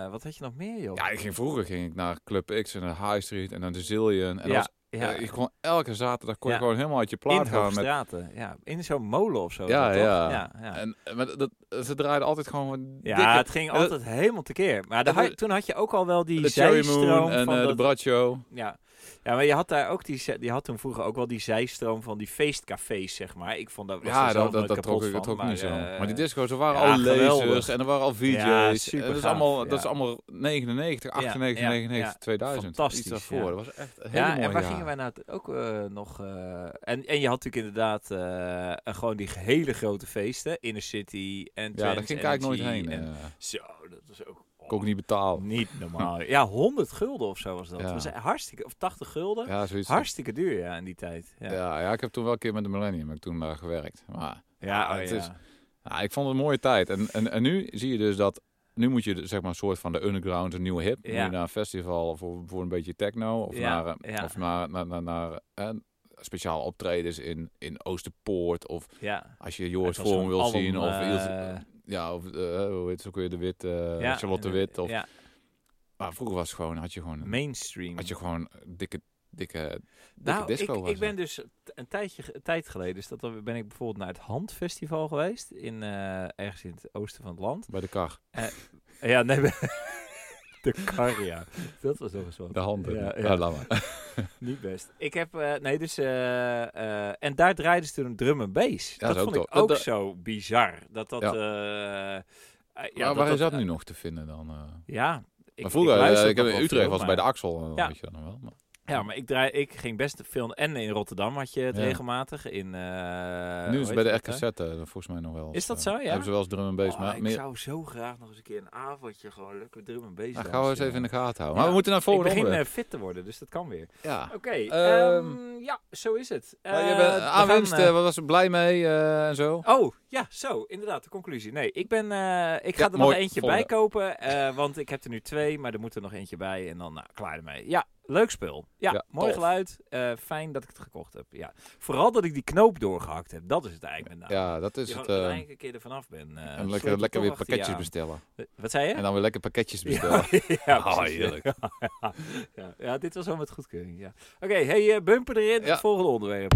[SPEAKER 1] eh, wat had je nog meer, joh?
[SPEAKER 2] Ja, ik ging, vroeger ging ik naar Club X en naar High Street en naar de Zillion. En dat was,
[SPEAKER 1] ja,
[SPEAKER 2] eh, je kon elke zaterdag kon je
[SPEAKER 1] Ja.
[SPEAKER 2] gewoon helemaal uit je
[SPEAKER 1] in
[SPEAKER 2] plaat gaan. Met,
[SPEAKER 1] straten. Ja, in zo'n molen of zo.
[SPEAKER 2] Ja,
[SPEAKER 1] was dat,
[SPEAKER 2] ja.
[SPEAKER 1] toch? ja, ja.
[SPEAKER 2] en, maar dat, ze draaiden altijd gewoon van
[SPEAKER 1] Ja,
[SPEAKER 2] dikke...
[SPEAKER 1] het ging altijd helemaal tekeer. Maar daar
[SPEAKER 2] dat-
[SPEAKER 1] had- toen had je ook al wel die
[SPEAKER 2] de Cherry
[SPEAKER 1] zijstroom
[SPEAKER 2] Moon en
[SPEAKER 1] van
[SPEAKER 2] eh, de
[SPEAKER 1] dat-
[SPEAKER 2] Bradshow.
[SPEAKER 1] Ja, Ja, maar je had daar ook die, ze- die had toen vroeger ook wel die zijstroom van die feestcafés, zeg maar. Ik vond dat was
[SPEAKER 2] Ja,
[SPEAKER 1] er
[SPEAKER 2] dat,
[SPEAKER 1] zelf
[SPEAKER 2] dat,
[SPEAKER 1] nooit
[SPEAKER 2] dat trok,
[SPEAKER 1] kapot
[SPEAKER 2] ik-
[SPEAKER 1] van,
[SPEAKER 2] dat trok niet zo.
[SPEAKER 1] eh,
[SPEAKER 2] Maar die disco's, er waren
[SPEAKER 1] ja,
[SPEAKER 2] al lasers
[SPEAKER 1] geweldig.
[SPEAKER 2] en er waren al VJ's.
[SPEAKER 1] Ja,
[SPEAKER 2] en dat, is
[SPEAKER 1] supergaaf,
[SPEAKER 2] allemaal,
[SPEAKER 1] ja.
[SPEAKER 2] dat is allemaal 99,
[SPEAKER 1] Ja,
[SPEAKER 2] 98,
[SPEAKER 1] ja,
[SPEAKER 2] 99,
[SPEAKER 1] ja.
[SPEAKER 2] 2000.
[SPEAKER 1] Fantastisch,
[SPEAKER 2] Iets daarvoor.
[SPEAKER 1] ja.
[SPEAKER 2] Dat was echt een hele
[SPEAKER 1] Ja,
[SPEAKER 2] mooie
[SPEAKER 1] en waar
[SPEAKER 2] jaren.
[SPEAKER 1] gingen wij nou t- ook eh, nog... eh, en, en je had natuurlijk inderdaad eh, eh, gewoon die hele grote feesten. Inner City en
[SPEAKER 2] Ja, daar
[SPEAKER 1] Trends
[SPEAKER 2] ging ik eigenlijk nooit
[SPEAKER 1] Energy
[SPEAKER 2] heen.
[SPEAKER 1] en-
[SPEAKER 2] eh.
[SPEAKER 1] Zo, dat was ook... oh,
[SPEAKER 2] kon ik niet betalen.
[SPEAKER 1] niet normaal. ja, 100 gulden of zo was dat.
[SPEAKER 2] Ja.
[SPEAKER 1] Dat was hartstikke... Of 80 gulden.
[SPEAKER 2] Ja, zoiets.
[SPEAKER 1] Hartstikke duur, ja, in die tijd. Ja,
[SPEAKER 2] ja.
[SPEAKER 1] ja.
[SPEAKER 2] ja, ik heb toen wel een keer met de Millennium heb ik toen, eh, gewerkt. Maar
[SPEAKER 1] ja,
[SPEAKER 2] Ah,
[SPEAKER 1] oh
[SPEAKER 2] het
[SPEAKER 1] ja.
[SPEAKER 2] is- nou, ik vond het een mooie tijd. En, en, en nu zie je dus dat... Nu moet je de- zeg maar een soort van de underground, een nieuwe hip. Moet
[SPEAKER 1] Ja.
[SPEAKER 2] je naar een festival voor, voor een beetje techno. Of
[SPEAKER 1] Ja,
[SPEAKER 2] naar, eh,
[SPEAKER 1] ja.
[SPEAKER 2] Of naar, naar, naar, naar eh, speciaal optredens in, in Oosterpoort. Of
[SPEAKER 1] ja.
[SPEAKER 2] Als je Joris
[SPEAKER 1] Het was
[SPEAKER 2] Vorm
[SPEAKER 1] zo'n
[SPEAKER 2] wil
[SPEAKER 1] album,
[SPEAKER 2] zien, of,
[SPEAKER 1] eh,
[SPEAKER 2] Ilse- ja, of eh, hoe heet ze ook weer, de Wit, eh,
[SPEAKER 1] ja,
[SPEAKER 2] Charlotte
[SPEAKER 1] en,
[SPEAKER 2] Wit. Of,
[SPEAKER 1] ja,
[SPEAKER 2] Maar vroeger was het gewoon, had je gewoon,
[SPEAKER 1] mainstream.
[SPEAKER 2] had je gewoon dikke, dikke, dikke
[SPEAKER 1] Nou,
[SPEAKER 2] disco.
[SPEAKER 1] ik,
[SPEAKER 2] was
[SPEAKER 1] ik ben
[SPEAKER 2] het.
[SPEAKER 1] dus t- een tijdje ge- een tijd geleden, dus dat dan ben ik bijvoorbeeld naar het Handfestival geweest in eh, ergens in het oosten van het land.
[SPEAKER 2] Bij de kar,
[SPEAKER 1] Ja, nee, we- de Carria. Dat was nog eens wat.
[SPEAKER 2] de handen.
[SPEAKER 1] Ja,
[SPEAKER 2] Ja,
[SPEAKER 1] ja.
[SPEAKER 2] laat maar.
[SPEAKER 1] Niet best. Ik heb, eh, nee, dus eh, eh, en daar draaiden ze toen een drum en bass.
[SPEAKER 2] Ja,
[SPEAKER 1] dat
[SPEAKER 2] dat is ook
[SPEAKER 1] vond ik
[SPEAKER 2] tof. Dat-
[SPEAKER 1] ook
[SPEAKER 2] dat-
[SPEAKER 1] zo bizar. Dat dat.
[SPEAKER 2] Ja.
[SPEAKER 1] eh, eh, ja,
[SPEAKER 2] maar waar is dat
[SPEAKER 1] eh,
[SPEAKER 2] nu nog te vinden dan? eh?
[SPEAKER 1] Ja. Ik,
[SPEAKER 2] maar vroeger, eh, ik,
[SPEAKER 1] luister het
[SPEAKER 2] heb
[SPEAKER 1] nog
[SPEAKER 2] in
[SPEAKER 1] wel
[SPEAKER 2] Utrecht
[SPEAKER 1] veel,
[SPEAKER 2] was het bij
[SPEAKER 1] maar-
[SPEAKER 2] de Axel,
[SPEAKER 1] Ja.
[SPEAKER 2] weet je dat nog wel. Maar,
[SPEAKER 1] Ja, maar ik, draai, ik ging best veel. En in Rotterdam had je het
[SPEAKER 2] Ja.
[SPEAKER 1] regelmatig. In, eh,
[SPEAKER 2] nu
[SPEAKER 1] hoe
[SPEAKER 2] is het bij
[SPEAKER 1] heet
[SPEAKER 2] de
[SPEAKER 1] dat, hè?
[SPEAKER 2] RKZ eh, volgens mij nog wel.
[SPEAKER 1] Is dat
[SPEAKER 2] eh,
[SPEAKER 1] zo, ja?
[SPEAKER 2] Hebben ze wel eens drum en bass.
[SPEAKER 1] Oh,
[SPEAKER 2] maar
[SPEAKER 1] ik
[SPEAKER 2] meer,
[SPEAKER 1] zou zo graag nog eens een keer een avondje gewoon lekker drum en bass
[SPEAKER 2] nou,
[SPEAKER 1] dansen,
[SPEAKER 2] gaan we eens
[SPEAKER 1] ja.
[SPEAKER 2] even in de gaten houden.
[SPEAKER 1] Ja.
[SPEAKER 2] Maar we moeten naar het
[SPEAKER 1] Ik
[SPEAKER 2] volgende
[SPEAKER 1] begin
[SPEAKER 2] onderwerp.
[SPEAKER 1] eh, fit te worden, dus dat kan weer.
[SPEAKER 2] Ja.
[SPEAKER 1] Oké,
[SPEAKER 2] Ehm,
[SPEAKER 1] ehm, ja, zo is het.
[SPEAKER 2] Maar je
[SPEAKER 1] Eh,
[SPEAKER 2] bent
[SPEAKER 1] we gaan,
[SPEAKER 2] aanwinst,
[SPEAKER 1] eh,
[SPEAKER 2] eh, wat was er blij mee eh, en zo?
[SPEAKER 1] Oh, ja, zo, inderdaad, de conclusie. Nee, ik ben, eh, ik ga
[SPEAKER 2] Ja,
[SPEAKER 1] er nog
[SPEAKER 2] mooi,
[SPEAKER 1] eentje
[SPEAKER 2] volgende.
[SPEAKER 1] bij kopen, eh, want ik heb er nu twee, maar er moet er nog eentje bij en dan nou, klaar ermee. Ja, leuk spul. Ja,
[SPEAKER 2] Ja,
[SPEAKER 1] mooi
[SPEAKER 2] tof.
[SPEAKER 1] geluid. Eh, fijn dat ik het gekocht heb. Ja. Vooral dat ik die knoop doorgehakt heb, dat is het eigenlijk met name.
[SPEAKER 2] Ja, dat is
[SPEAKER 1] Dat je
[SPEAKER 2] het.
[SPEAKER 1] gewoon
[SPEAKER 2] eh,
[SPEAKER 1] uiteindelijk een keer er vanaf ben. eh,
[SPEAKER 2] en
[SPEAKER 1] sleep je
[SPEAKER 2] lekker, lekker
[SPEAKER 1] toch achter
[SPEAKER 2] weer
[SPEAKER 1] je
[SPEAKER 2] pakketjes
[SPEAKER 1] aan.
[SPEAKER 2] bestellen.
[SPEAKER 1] Wat zei je?
[SPEAKER 2] En dan weer lekker pakketjes bestellen.
[SPEAKER 1] Ja, ja,
[SPEAKER 2] Dus Ah,
[SPEAKER 1] precies.
[SPEAKER 2] heerlijk.
[SPEAKER 1] Ja, ja. Ja, dit was wel met goedkeuring. Ja. Oké, hey, eh, bumper erin.
[SPEAKER 2] Ja.
[SPEAKER 1] Het volgende onderwerp.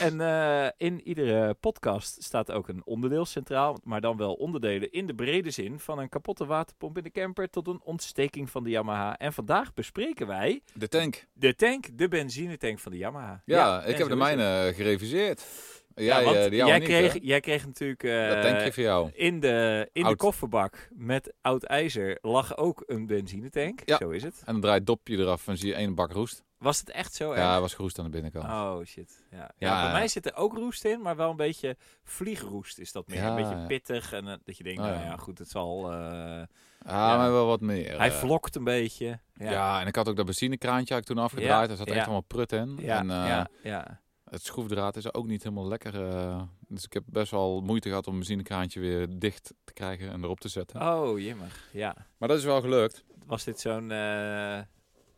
[SPEAKER 1] En eh, in iedere podcast staat ook een onderdeel centraal, maar dan wel onderdelen in de brede zin van een kapotte waterpomp in de camper tot een ontsteking van de Yamaha. En vandaag bespreken wij
[SPEAKER 2] De tank.
[SPEAKER 1] de tank, de benzinetank van de Yamaha.
[SPEAKER 2] Ja,
[SPEAKER 1] en
[SPEAKER 2] ik
[SPEAKER 1] zo
[SPEAKER 2] heb de
[SPEAKER 1] is
[SPEAKER 2] mijne
[SPEAKER 1] het.
[SPEAKER 2] eh, gereviseerd.
[SPEAKER 1] Ja,
[SPEAKER 2] Jij,
[SPEAKER 1] want
[SPEAKER 2] eh, die jouwe
[SPEAKER 1] jij,
[SPEAKER 2] niet,
[SPEAKER 1] kreeg,
[SPEAKER 2] hè?
[SPEAKER 1] jij kreeg natuurlijk eh,
[SPEAKER 2] Dat tankje voor jou.
[SPEAKER 1] in de, in de
[SPEAKER 2] Oud.
[SPEAKER 1] kofferbak met oud ijzer lag ook een benzinetank.
[SPEAKER 2] Ja.
[SPEAKER 1] Zo is het.
[SPEAKER 2] En dan draait het dopje eraf en zie je één bak roest.
[SPEAKER 1] Was het echt zo
[SPEAKER 2] Ja,
[SPEAKER 1] erg?
[SPEAKER 2] was geroest aan de binnenkant.
[SPEAKER 1] Oh shit. Ja. Ja,
[SPEAKER 2] Ja.
[SPEAKER 1] Bij mij zit er ook roest in, maar wel een beetje vliegroest is dat meer.
[SPEAKER 2] Ja,
[SPEAKER 1] een
[SPEAKER 2] ja.
[SPEAKER 1] beetje pittig en eh, dat je denkt,
[SPEAKER 2] Oh,
[SPEAKER 1] nou
[SPEAKER 2] ja.
[SPEAKER 1] ja, goed, het zal. eh,
[SPEAKER 2] Ah,
[SPEAKER 1] Ja.
[SPEAKER 2] maar wel wat meer.
[SPEAKER 1] hij
[SPEAKER 2] eh.
[SPEAKER 1] vlokt een beetje. Ja,
[SPEAKER 2] ja. en ik had ook dat benzinekraantje had ik toen afgedraaid.
[SPEAKER 1] Ja,
[SPEAKER 2] Daar zat
[SPEAKER 1] ja.
[SPEAKER 2] echt allemaal prut in.
[SPEAKER 1] ja,
[SPEAKER 2] en, eh,
[SPEAKER 1] ja, ja.
[SPEAKER 2] Het schroefdraad is ook niet helemaal lekker. eh, dus ik heb best wel moeite gehad om mijn benzinekraantje weer dicht te krijgen en erop te zetten.
[SPEAKER 1] Oh jemmer. Ja.
[SPEAKER 2] Maar dat is wel gelukt.
[SPEAKER 1] Was dit zo'n. eh,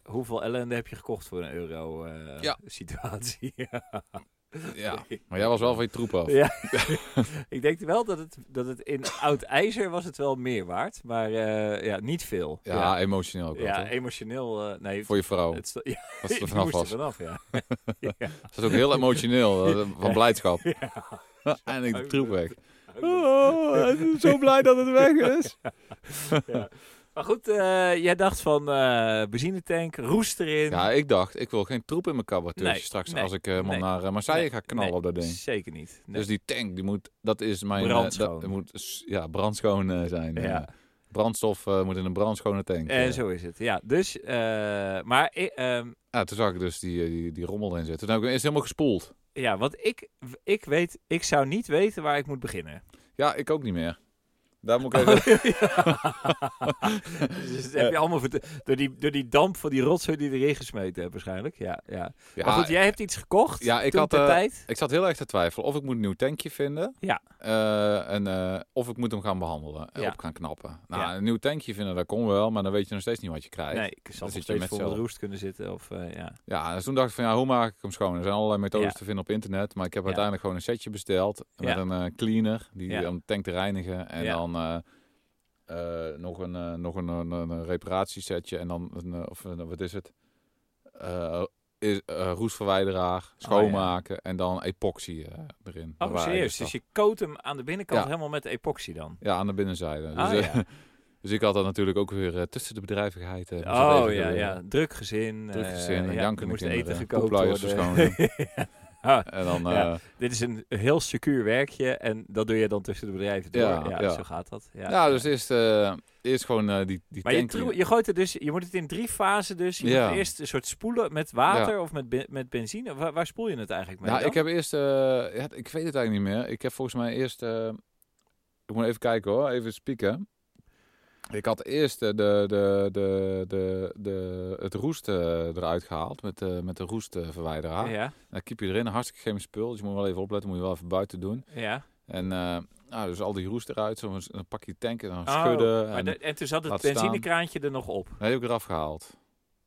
[SPEAKER 1] hoeveel ellende heb je gekocht voor een euro eh,
[SPEAKER 2] Ja.
[SPEAKER 1] situatie?
[SPEAKER 2] Ja. Maar jij was wel van je troep af.
[SPEAKER 1] Ja. ik denk wel dat het, dat het in oud ijzer was het wel meer waard, maar eh, ja, niet veel.
[SPEAKER 2] Ja, emotioneel ook wel,
[SPEAKER 1] Ja,
[SPEAKER 2] toch?
[SPEAKER 1] emotioneel. eh, nee,
[SPEAKER 2] Voor je vrouw.
[SPEAKER 1] het sto- ja,
[SPEAKER 2] Dat ze er
[SPEAKER 1] je
[SPEAKER 2] vanaf
[SPEAKER 1] moest er
[SPEAKER 2] was.
[SPEAKER 1] vanaf, ja. ja.
[SPEAKER 2] Dat is ook heel emotioneel, eh, van blijdschap.
[SPEAKER 1] Ja.
[SPEAKER 2] en ik de troep weg.
[SPEAKER 1] Ja.
[SPEAKER 2] zo blij dat het weg is.
[SPEAKER 1] Maar goed, eh, jij dacht van eh benzinetank, roest erin.
[SPEAKER 2] Ja, ik dacht, ik wil geen troep in mijn kabbertje
[SPEAKER 1] Nee,
[SPEAKER 2] straks
[SPEAKER 1] nee,
[SPEAKER 2] als ik eh, helemaal
[SPEAKER 1] nee,
[SPEAKER 2] naar eh, Marseille
[SPEAKER 1] nee,
[SPEAKER 2] ga knallen
[SPEAKER 1] nee,
[SPEAKER 2] op dat ding.
[SPEAKER 1] Zeker niet. Nee.
[SPEAKER 2] Dus die tank, die moet, dat is mijn... eh,
[SPEAKER 1] Brandschoon.
[SPEAKER 2] dat moet s- ja, brandschoon eh, zijn. eh.
[SPEAKER 1] Ja.
[SPEAKER 2] brandstof eh, moet in een brandschone tank. eh.
[SPEAKER 1] en zo is het, ja. Dus, eh, maar eh, ehm,
[SPEAKER 2] Ja, toen zag ik dus die, eh, die, die rommel in zitten. Toen heb ik hem eerst helemaal gespoeld.
[SPEAKER 1] ja, want ik, ik weet, ik zou niet weten waar ik moet beginnen.
[SPEAKER 2] Ja, ik ook niet meer. Daar moet ik
[SPEAKER 1] Oh,
[SPEAKER 2] even...
[SPEAKER 1] Dus dat heb je allemaal verte- door, die, door die damp van die rotzooi die erin gesmeten hebt waarschijnlijk. Ja, ja.
[SPEAKER 2] Ja,
[SPEAKER 1] maar goed, jij hebt iets gekocht
[SPEAKER 2] ja, ik
[SPEAKER 1] toen
[SPEAKER 2] had,
[SPEAKER 1] ter
[SPEAKER 2] eh,
[SPEAKER 1] tijd.
[SPEAKER 2] Ik zat heel erg te twijfelen of ik moet een nieuw tankje vinden.
[SPEAKER 1] Ja.
[SPEAKER 2] Eh, en, eh, of ik moet hem gaan behandelen. En
[SPEAKER 1] Ja.
[SPEAKER 2] op gaan knappen. Nou,
[SPEAKER 1] Ja.
[SPEAKER 2] een nieuw tankje vinden, dat kon wel. Maar dan weet je nog steeds niet wat je krijgt.
[SPEAKER 1] Nee, ik
[SPEAKER 2] zit
[SPEAKER 1] zat
[SPEAKER 2] je
[SPEAKER 1] nog steeds
[SPEAKER 2] met
[SPEAKER 1] vol met
[SPEAKER 2] zelf.
[SPEAKER 1] roest kunnen zitten. Of, eh, ja.
[SPEAKER 2] Ja, dus toen dacht ik van ja, hoe maak ik hem schoon? Er zijn allerlei methodes
[SPEAKER 1] Ja.
[SPEAKER 2] te vinden op internet. Maar ik heb
[SPEAKER 1] Ja.
[SPEAKER 2] uiteindelijk gewoon een setje besteld. Met
[SPEAKER 1] Ja.
[SPEAKER 2] een eh, cleaner. Die
[SPEAKER 1] Ja.
[SPEAKER 2] om de tank te reinigen. En
[SPEAKER 1] Ja.
[SPEAKER 2] dan... eh, eh, nog een, eh, nog een, een, een- een reparatiesetje en dan, een, eh, of een- wat is het? Eh, is, eh, roestverwijderaar, schoonmaken en dan epoxy eh, erin. Dat
[SPEAKER 1] Oh,
[SPEAKER 2] waren
[SPEAKER 1] serieus?
[SPEAKER 2] de
[SPEAKER 1] Dus je coat hem aan de binnenkant
[SPEAKER 2] Ja.
[SPEAKER 1] helemaal met epoxy dan?
[SPEAKER 2] Ja, aan de binnenzijde. Dus,
[SPEAKER 1] Ah,
[SPEAKER 2] eh,
[SPEAKER 1] ja.
[SPEAKER 2] ja. Dus ik had dat natuurlijk ook weer eh, tussen de bedrijvigheid. eh, moest dat
[SPEAKER 1] Oh
[SPEAKER 2] even
[SPEAKER 1] ja,
[SPEAKER 2] gebeuren.
[SPEAKER 1] ja. Druk gezin.
[SPEAKER 2] Druk
[SPEAKER 1] eh,
[SPEAKER 2] gezin, en
[SPEAKER 1] ja,
[SPEAKER 2] jankende
[SPEAKER 1] er moest
[SPEAKER 2] kinderen,
[SPEAKER 1] eten gekookt
[SPEAKER 2] poepluiers
[SPEAKER 1] worden. Ah,
[SPEAKER 2] En dan,
[SPEAKER 1] Ja.
[SPEAKER 2] eh,
[SPEAKER 1] dit is een heel secuur werkje en dat doe je dan tussen de bedrijven door.
[SPEAKER 2] Ja,
[SPEAKER 1] Ja,
[SPEAKER 2] ja.
[SPEAKER 1] zo gaat dat. Ja,
[SPEAKER 2] ja, dus eerst, eh, eerst gewoon eh, die, die
[SPEAKER 1] Maar je,
[SPEAKER 2] tank in.
[SPEAKER 1] tro- je gooit het dus, je moet het in drie fasen dus. Je
[SPEAKER 2] Ja.
[SPEAKER 1] moet eerst een soort spoelen met water of met, ben- met benzine. Waar, waar spoel je het eigenlijk mee
[SPEAKER 2] Nou,
[SPEAKER 1] dan?
[SPEAKER 2] ik heb eerst... eh, ja, ik weet het eigenlijk niet meer. Ik heb volgens mij eerst... eh, ik moet even kijken hoor. Even spieken. Ik had eerst eh, de, de, de, de, de, het roest eh, eruit gehaald. Met, eh, met de roestverwijderaar.
[SPEAKER 1] Ja,
[SPEAKER 2] Dan kiep je erin. Hartstikke geen spul. Dus je moet wel even opletten. Moet je wel even buiten doen.
[SPEAKER 1] ja.
[SPEAKER 2] En eh, nou, dus al die roest eruit. Zo, dan pak je die tank en dan
[SPEAKER 1] Oh,
[SPEAKER 2] schudden.
[SPEAKER 1] Maar
[SPEAKER 2] En,
[SPEAKER 1] de- en toen zat het
[SPEAKER 2] laat staan.
[SPEAKER 1] benzinekraantje er nog op.
[SPEAKER 2] Nee, die heb ik eraf gehaald.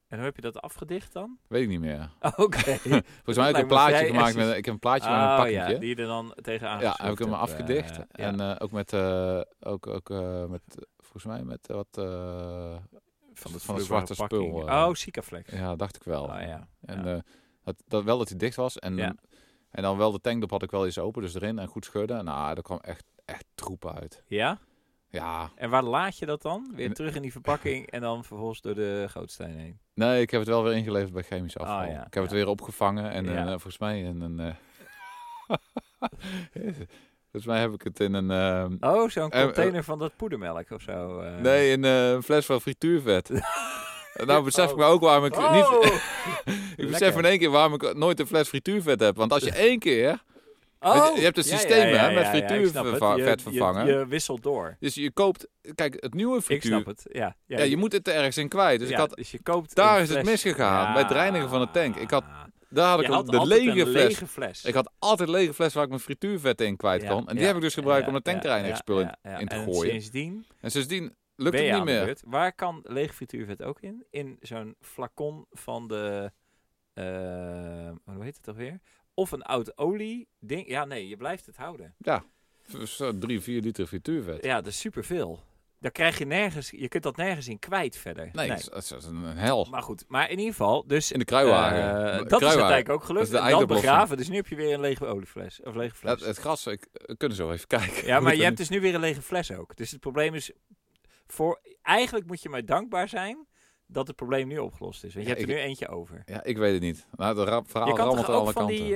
[SPEAKER 1] En hoe heb je dat afgedicht dan?
[SPEAKER 2] Weet ik niet meer.
[SPEAKER 1] Oké.
[SPEAKER 2] Volgens mij heb ik
[SPEAKER 1] lijkt me
[SPEAKER 2] een
[SPEAKER 1] vrij
[SPEAKER 2] plaatje gemaakt.
[SPEAKER 1] essentieel.
[SPEAKER 2] Met, ik heb een plaatje gemaakt
[SPEAKER 1] oh
[SPEAKER 2] met een
[SPEAKER 1] ja,
[SPEAKER 2] pakketje.
[SPEAKER 1] die je er dan tegenaan
[SPEAKER 2] Ja, heb
[SPEAKER 1] gezocht
[SPEAKER 2] ik hem
[SPEAKER 1] hebt,
[SPEAKER 2] afgedicht.
[SPEAKER 1] eh, ja.
[SPEAKER 2] En eh, ook met, eh, ook, ook, eh, met eh, volgens mij met eh, wat, eh, van het
[SPEAKER 1] vloeibare
[SPEAKER 2] zwarte
[SPEAKER 1] pakking.
[SPEAKER 2] spul, eh.
[SPEAKER 1] oh, Sikaflex.
[SPEAKER 2] ja, dacht ik wel.
[SPEAKER 1] Oh, ja.
[SPEAKER 2] En
[SPEAKER 1] ja.
[SPEAKER 2] eh, dat, dat wel dat hij dicht was. En,
[SPEAKER 1] Ja.
[SPEAKER 2] en dan wel de tankdop had ik wel eens open, dus erin en goed schudden. Nou, er kwam echt, echt troep uit.
[SPEAKER 1] Ja?
[SPEAKER 2] Ja,
[SPEAKER 1] En waar laat je dat dan? Weer
[SPEAKER 2] Nee.
[SPEAKER 1] terug in die verpakking en dan vervolgens door de Goudstein heen.
[SPEAKER 2] nee, ik heb het wel weer ingeleverd bij chemisch afval.
[SPEAKER 1] Oh, ja,
[SPEAKER 2] Ik heb
[SPEAKER 1] ja.
[SPEAKER 2] het weer opgevangen en
[SPEAKER 1] Ja.
[SPEAKER 2] eh, volgens mij in een... eh, volgens mij heb ik het in een... eh,
[SPEAKER 1] Oh, zo'n
[SPEAKER 2] Eh, eh,
[SPEAKER 1] container van dat poedermelk of zo. eh.
[SPEAKER 2] Nee, in eh, een fles van frituurvet. nou besef ik
[SPEAKER 1] Oh.
[SPEAKER 2] me ook waarom ik
[SPEAKER 1] Oh!
[SPEAKER 2] niet... eh, Ik
[SPEAKER 1] Lekker.
[SPEAKER 2] besef in één keer waarom ik nooit een fles frituurvet heb. Want als je één keer...
[SPEAKER 1] Oh!
[SPEAKER 2] je hebt een
[SPEAKER 1] Ja, ja,
[SPEAKER 2] systeem,
[SPEAKER 1] ja,
[SPEAKER 2] hè, met
[SPEAKER 1] ja, ja, ik
[SPEAKER 2] frituurvet
[SPEAKER 1] snap het.
[SPEAKER 2] verva-
[SPEAKER 1] Je-
[SPEAKER 2] vet
[SPEAKER 1] je-
[SPEAKER 2] vervangen.
[SPEAKER 1] Je, wisselt door.
[SPEAKER 2] Dus je koopt... Kijk, het nieuwe
[SPEAKER 1] Ik
[SPEAKER 2] frituur...
[SPEAKER 1] snap het, ja.
[SPEAKER 2] Ja, je moet het er ergens in kwijt. Dus
[SPEAKER 1] ja,
[SPEAKER 2] ik had,
[SPEAKER 1] dus je koopt
[SPEAKER 2] daar
[SPEAKER 1] een
[SPEAKER 2] is het
[SPEAKER 1] fles-
[SPEAKER 2] misgegaan, bij het reinigen van de tank. Ik had- daar had ik
[SPEAKER 1] Je
[SPEAKER 2] al
[SPEAKER 1] had
[SPEAKER 2] de
[SPEAKER 1] altijd
[SPEAKER 2] lege
[SPEAKER 1] een
[SPEAKER 2] fles.
[SPEAKER 1] lege fles.
[SPEAKER 2] Ik had altijd lege fles waar ik mijn frituurvet in kwijt
[SPEAKER 1] Ja,
[SPEAKER 2] kon. En die
[SPEAKER 1] ja,
[SPEAKER 2] heb ik dus gebruikt om
[SPEAKER 1] ja,
[SPEAKER 2] de tankreinigingsspul
[SPEAKER 1] ja,
[SPEAKER 2] in-
[SPEAKER 1] ja, ja.
[SPEAKER 2] in te
[SPEAKER 1] En
[SPEAKER 2] gooien.
[SPEAKER 1] sindsdien
[SPEAKER 2] En sindsdien lukt
[SPEAKER 1] ben
[SPEAKER 2] het
[SPEAKER 1] je
[SPEAKER 2] niet
[SPEAKER 1] aan de
[SPEAKER 2] meer.
[SPEAKER 1] beurt. Waar kan leeg frituurvet ook in? In zo'n flacon van de... eh, hoe heet het toch weer? Of een oud olie ding. Ja, nee, je blijft het houden.
[SPEAKER 2] Zo drie, vier liter frituurvet.
[SPEAKER 1] Ja, dat is superveel. Daar krijg je nergens... Je kunt dat nergens in kwijt verder.
[SPEAKER 2] Nee, dat is- dat is dat is een hel.
[SPEAKER 1] Maar goed, maar in ieder geval, dus...
[SPEAKER 2] In de kruiwagen.
[SPEAKER 1] eh,
[SPEAKER 2] De
[SPEAKER 1] dat is
[SPEAKER 2] kruiwagen.
[SPEAKER 1] uiteindelijk ook gelukt.
[SPEAKER 2] Dat is de
[SPEAKER 1] En dan
[SPEAKER 2] eindoplossing.
[SPEAKER 1] begraven. Dus nu heb je weer een lege oliefles. Of lege fles.
[SPEAKER 2] Het, het gras, ik, we kunnen zo even kijken.
[SPEAKER 1] Ja, maar
[SPEAKER 2] Hoe
[SPEAKER 1] je
[SPEAKER 2] het
[SPEAKER 1] hebt dus nu weer een lege fles ook. Dus het probleem is... Voor, eigenlijk moet je maar dankbaar zijn dat het probleem nu opgelost is. Want je
[SPEAKER 2] Ja,
[SPEAKER 1] hebt er
[SPEAKER 2] ik-
[SPEAKER 1] nu eentje over.
[SPEAKER 2] Ja, ik weet het niet. Nou, de ra- verhaal
[SPEAKER 1] je kan
[SPEAKER 2] rammelt
[SPEAKER 1] toch ook
[SPEAKER 2] aan alle
[SPEAKER 1] van
[SPEAKER 2] kanten.
[SPEAKER 1] die...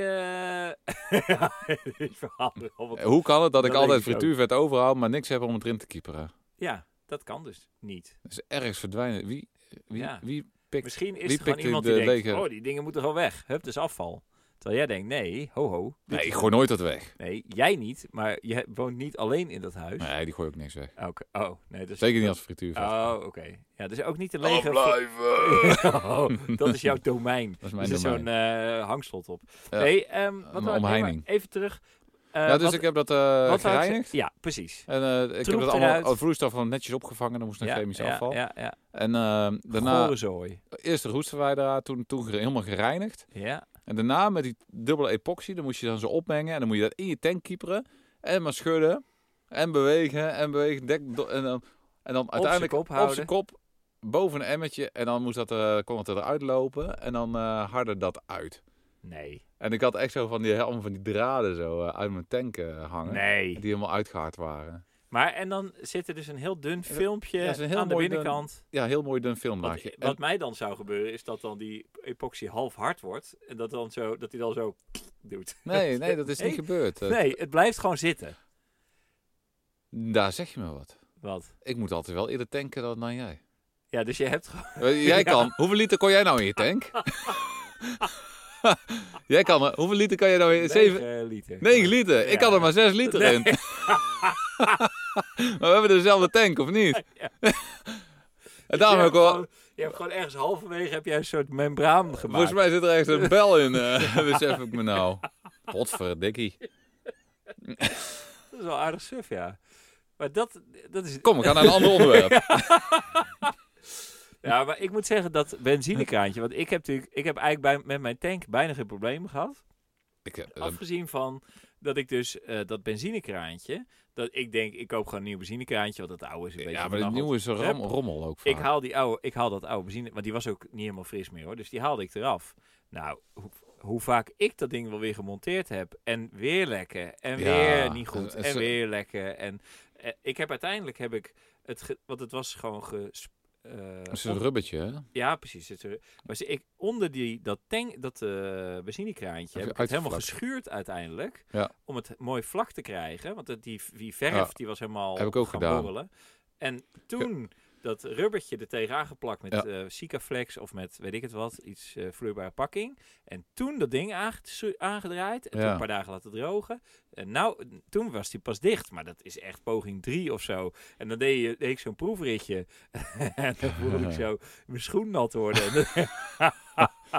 [SPEAKER 1] eh, ja, dit verhaal is allemaal-
[SPEAKER 2] Eh, Hoe kan het dat ik
[SPEAKER 1] Dat
[SPEAKER 2] altijd
[SPEAKER 1] weet ik ook.
[SPEAKER 2] frituurvet overhoud, maar niks heb om het erin te kieperen?
[SPEAKER 1] ja, dat kan dus niet.
[SPEAKER 2] Dus ergens verdwijnen. Wie, wie,
[SPEAKER 1] Ja.
[SPEAKER 2] wie pikt...
[SPEAKER 1] Misschien is
[SPEAKER 2] wie
[SPEAKER 1] er gewoon
[SPEAKER 2] pikt u
[SPEAKER 1] iemand
[SPEAKER 2] de
[SPEAKER 1] die denkt...
[SPEAKER 2] lege-
[SPEAKER 1] Oh, die dingen moeten gewoon weg. Hup, dus afval. Terwijl jij denkt, nee, ho ho. dit-
[SPEAKER 2] Nee, ik gooi nooit dat weg.
[SPEAKER 1] Nee, jij niet, maar je woont niet alleen in dat huis.
[SPEAKER 2] Nee, die gooi ook niks weg.
[SPEAKER 1] Oké. Oh, nee, dus
[SPEAKER 2] Zeker niet als frituurvet.
[SPEAKER 1] Oh, oké. Ja, dus ook niet de lege.
[SPEAKER 2] Afblijven!
[SPEAKER 1] Oh, dat is jouw domein.
[SPEAKER 2] Dat is
[SPEAKER 1] Er
[SPEAKER 2] mijn
[SPEAKER 1] zit
[SPEAKER 2] domein.
[SPEAKER 1] zo'n eh, hangslot op.
[SPEAKER 2] Ja,
[SPEAKER 1] Nee, ehm, wat
[SPEAKER 2] een
[SPEAKER 1] wou- nee,
[SPEAKER 2] omheining.
[SPEAKER 1] maar even terug. Eh,
[SPEAKER 2] ja, dus
[SPEAKER 1] wat-
[SPEAKER 2] ik heb dat eh
[SPEAKER 1] wat wou ik
[SPEAKER 2] gereinigd.
[SPEAKER 1] zeggen? Ja, precies.
[SPEAKER 2] En eh, ik heb
[SPEAKER 1] Troep
[SPEAKER 2] dat allemaal
[SPEAKER 1] eruit.
[SPEAKER 2] al vloeistof van netjes opgevangen. Dan moest naar
[SPEAKER 1] ja,
[SPEAKER 2] chemisch
[SPEAKER 1] ja,
[SPEAKER 2] afval.
[SPEAKER 1] Ja, dus- ja.
[SPEAKER 2] En eh,
[SPEAKER 1] Daarna...
[SPEAKER 2] daarna
[SPEAKER 1] Gore zooi.
[SPEAKER 2] eerst de roestverwijderaar, toen, toen ge- helemaal gereinigd.
[SPEAKER 1] Ja.
[SPEAKER 2] En daarna met die dubbele epoxy, dan moest je dan zo opmengen. En dan moet je dat in je tank kieperen. En maar schudden. En bewegen. En bewegen. Dek, do- en, dan, en dan uiteindelijk
[SPEAKER 1] kop houden.
[SPEAKER 2] zijn kop, Boven een emmertje. En dan moest dat, eh, kon het eruit lopen. En dan eh harder dat uit.
[SPEAKER 1] Nee.
[SPEAKER 2] En ik had echt zo van die, helemaal van die draden zo eh, uit mijn tank eh, hangen.
[SPEAKER 1] Nee.
[SPEAKER 2] Die helemaal uitgehard waren.
[SPEAKER 1] Maar en dan zit er dus een heel dun filmpje
[SPEAKER 2] ja, het is een heel
[SPEAKER 1] aan de
[SPEAKER 2] mooi dun
[SPEAKER 1] binnenkant.
[SPEAKER 2] Ja, heel mooi dun
[SPEAKER 1] Wat,
[SPEAKER 2] filmlaagje.
[SPEAKER 1] wat mij dan zou gebeuren is dat dan die epoxy half hard wordt. En dat, dan zo, dat hij dan zo doet.
[SPEAKER 2] En- nee, nee, dat is niet
[SPEAKER 1] Nee.
[SPEAKER 2] gebeurd. Eh,
[SPEAKER 1] Nee, het blijft gewoon zitten.
[SPEAKER 2] Daar zeg je me wat.
[SPEAKER 1] Wat?
[SPEAKER 2] Ik moet altijd wel eerder tanken dan, dan jij.
[SPEAKER 1] Ja, dus je hebt
[SPEAKER 2] Eh, Jij kan. Hoeveel liter kon jij nou in je tank? jij kan. eh, Hoeveel liter kan jij nou in? 7,
[SPEAKER 1] 9 eh, liter.
[SPEAKER 2] 9 liter. Ik
[SPEAKER 1] Ja.
[SPEAKER 2] had er maar 6 liter
[SPEAKER 1] Nee.
[SPEAKER 2] in. maar we hebben dezelfde tank, of niet?
[SPEAKER 1] Ja.
[SPEAKER 2] en daarom
[SPEAKER 1] je, hebt
[SPEAKER 2] heb ik wel.
[SPEAKER 1] gewoon, je hebt gewoon ergens halverwege heb jij een soort membraan gemaakt.
[SPEAKER 2] Volgens mij zit er ergens een bel in. eh, besef ik me nou. Potverdikkie.
[SPEAKER 1] Dat is wel aardig suf, ja. Maar dat, dat is...
[SPEAKER 2] Kom, we gaan naar een ander onderwerp.
[SPEAKER 1] Ja, maar ik moet zeggen dat benzinekraantje... Want ik heb natuurlijk... Ik heb eigenlijk bij, met mijn tank bijna geen probleem gehad.
[SPEAKER 2] Ik, eh,
[SPEAKER 1] Afgezien van dat ik dus eh, dat benzinekraantje... Dat ik denk, ik koop gewoon een nieuw benzinekraantje. Want dat oude is een beetje
[SPEAKER 2] ja, maar het
[SPEAKER 1] verdacht.
[SPEAKER 2] nieuwe is een ram, rommel ook vaak.
[SPEAKER 1] Ik haal, die oude, ik haal dat oude benzine, want die was ook niet helemaal fris meer hoor. Dus die haalde ik eraf. Nou, hoe- hoe vaak ik dat ding wel weer gemonteerd heb. En weer lekken. En
[SPEAKER 2] Ja,
[SPEAKER 1] weer niet goed.
[SPEAKER 2] en- en
[SPEAKER 1] En
[SPEAKER 2] ze-
[SPEAKER 1] weer lekken. En eh, ik heb uiteindelijk heb ik het. ge- want het was gewoon ges. eh,
[SPEAKER 2] Dat is
[SPEAKER 1] op-
[SPEAKER 2] een rubbertje, hè? Heb
[SPEAKER 1] ja, precies. Het, eh, maar ze- ik, onder die, dat, tank, dat eh benzinekraantje
[SPEAKER 2] je
[SPEAKER 1] heb ik het helemaal
[SPEAKER 2] uitgevlakt?
[SPEAKER 1] geschuurd uiteindelijk.
[SPEAKER 2] Ja.
[SPEAKER 1] Om het mooi vlak te krijgen. Want het, die, die verf
[SPEAKER 2] Ja.
[SPEAKER 1] die was helemaal
[SPEAKER 2] Heb ik ook
[SPEAKER 1] gaan
[SPEAKER 2] gedaan.
[SPEAKER 1] borrelen. En toen dat rubbertje er tegenaan geplakt met
[SPEAKER 2] Ja.
[SPEAKER 1] eh Sikaflex of met weet ik het wat, iets eh, vloeibare pakking. En toen dat ding aange- aangedraaid en toen
[SPEAKER 2] Ja.
[SPEAKER 1] een paar dagen laten drogen. En nou, toen was die pas dicht. Maar dat is echt poging 3 of zo. En dan deed, je, deed ik zo'n proefritje. en dan voelde ik zo mijn schoen nat worden. En dan-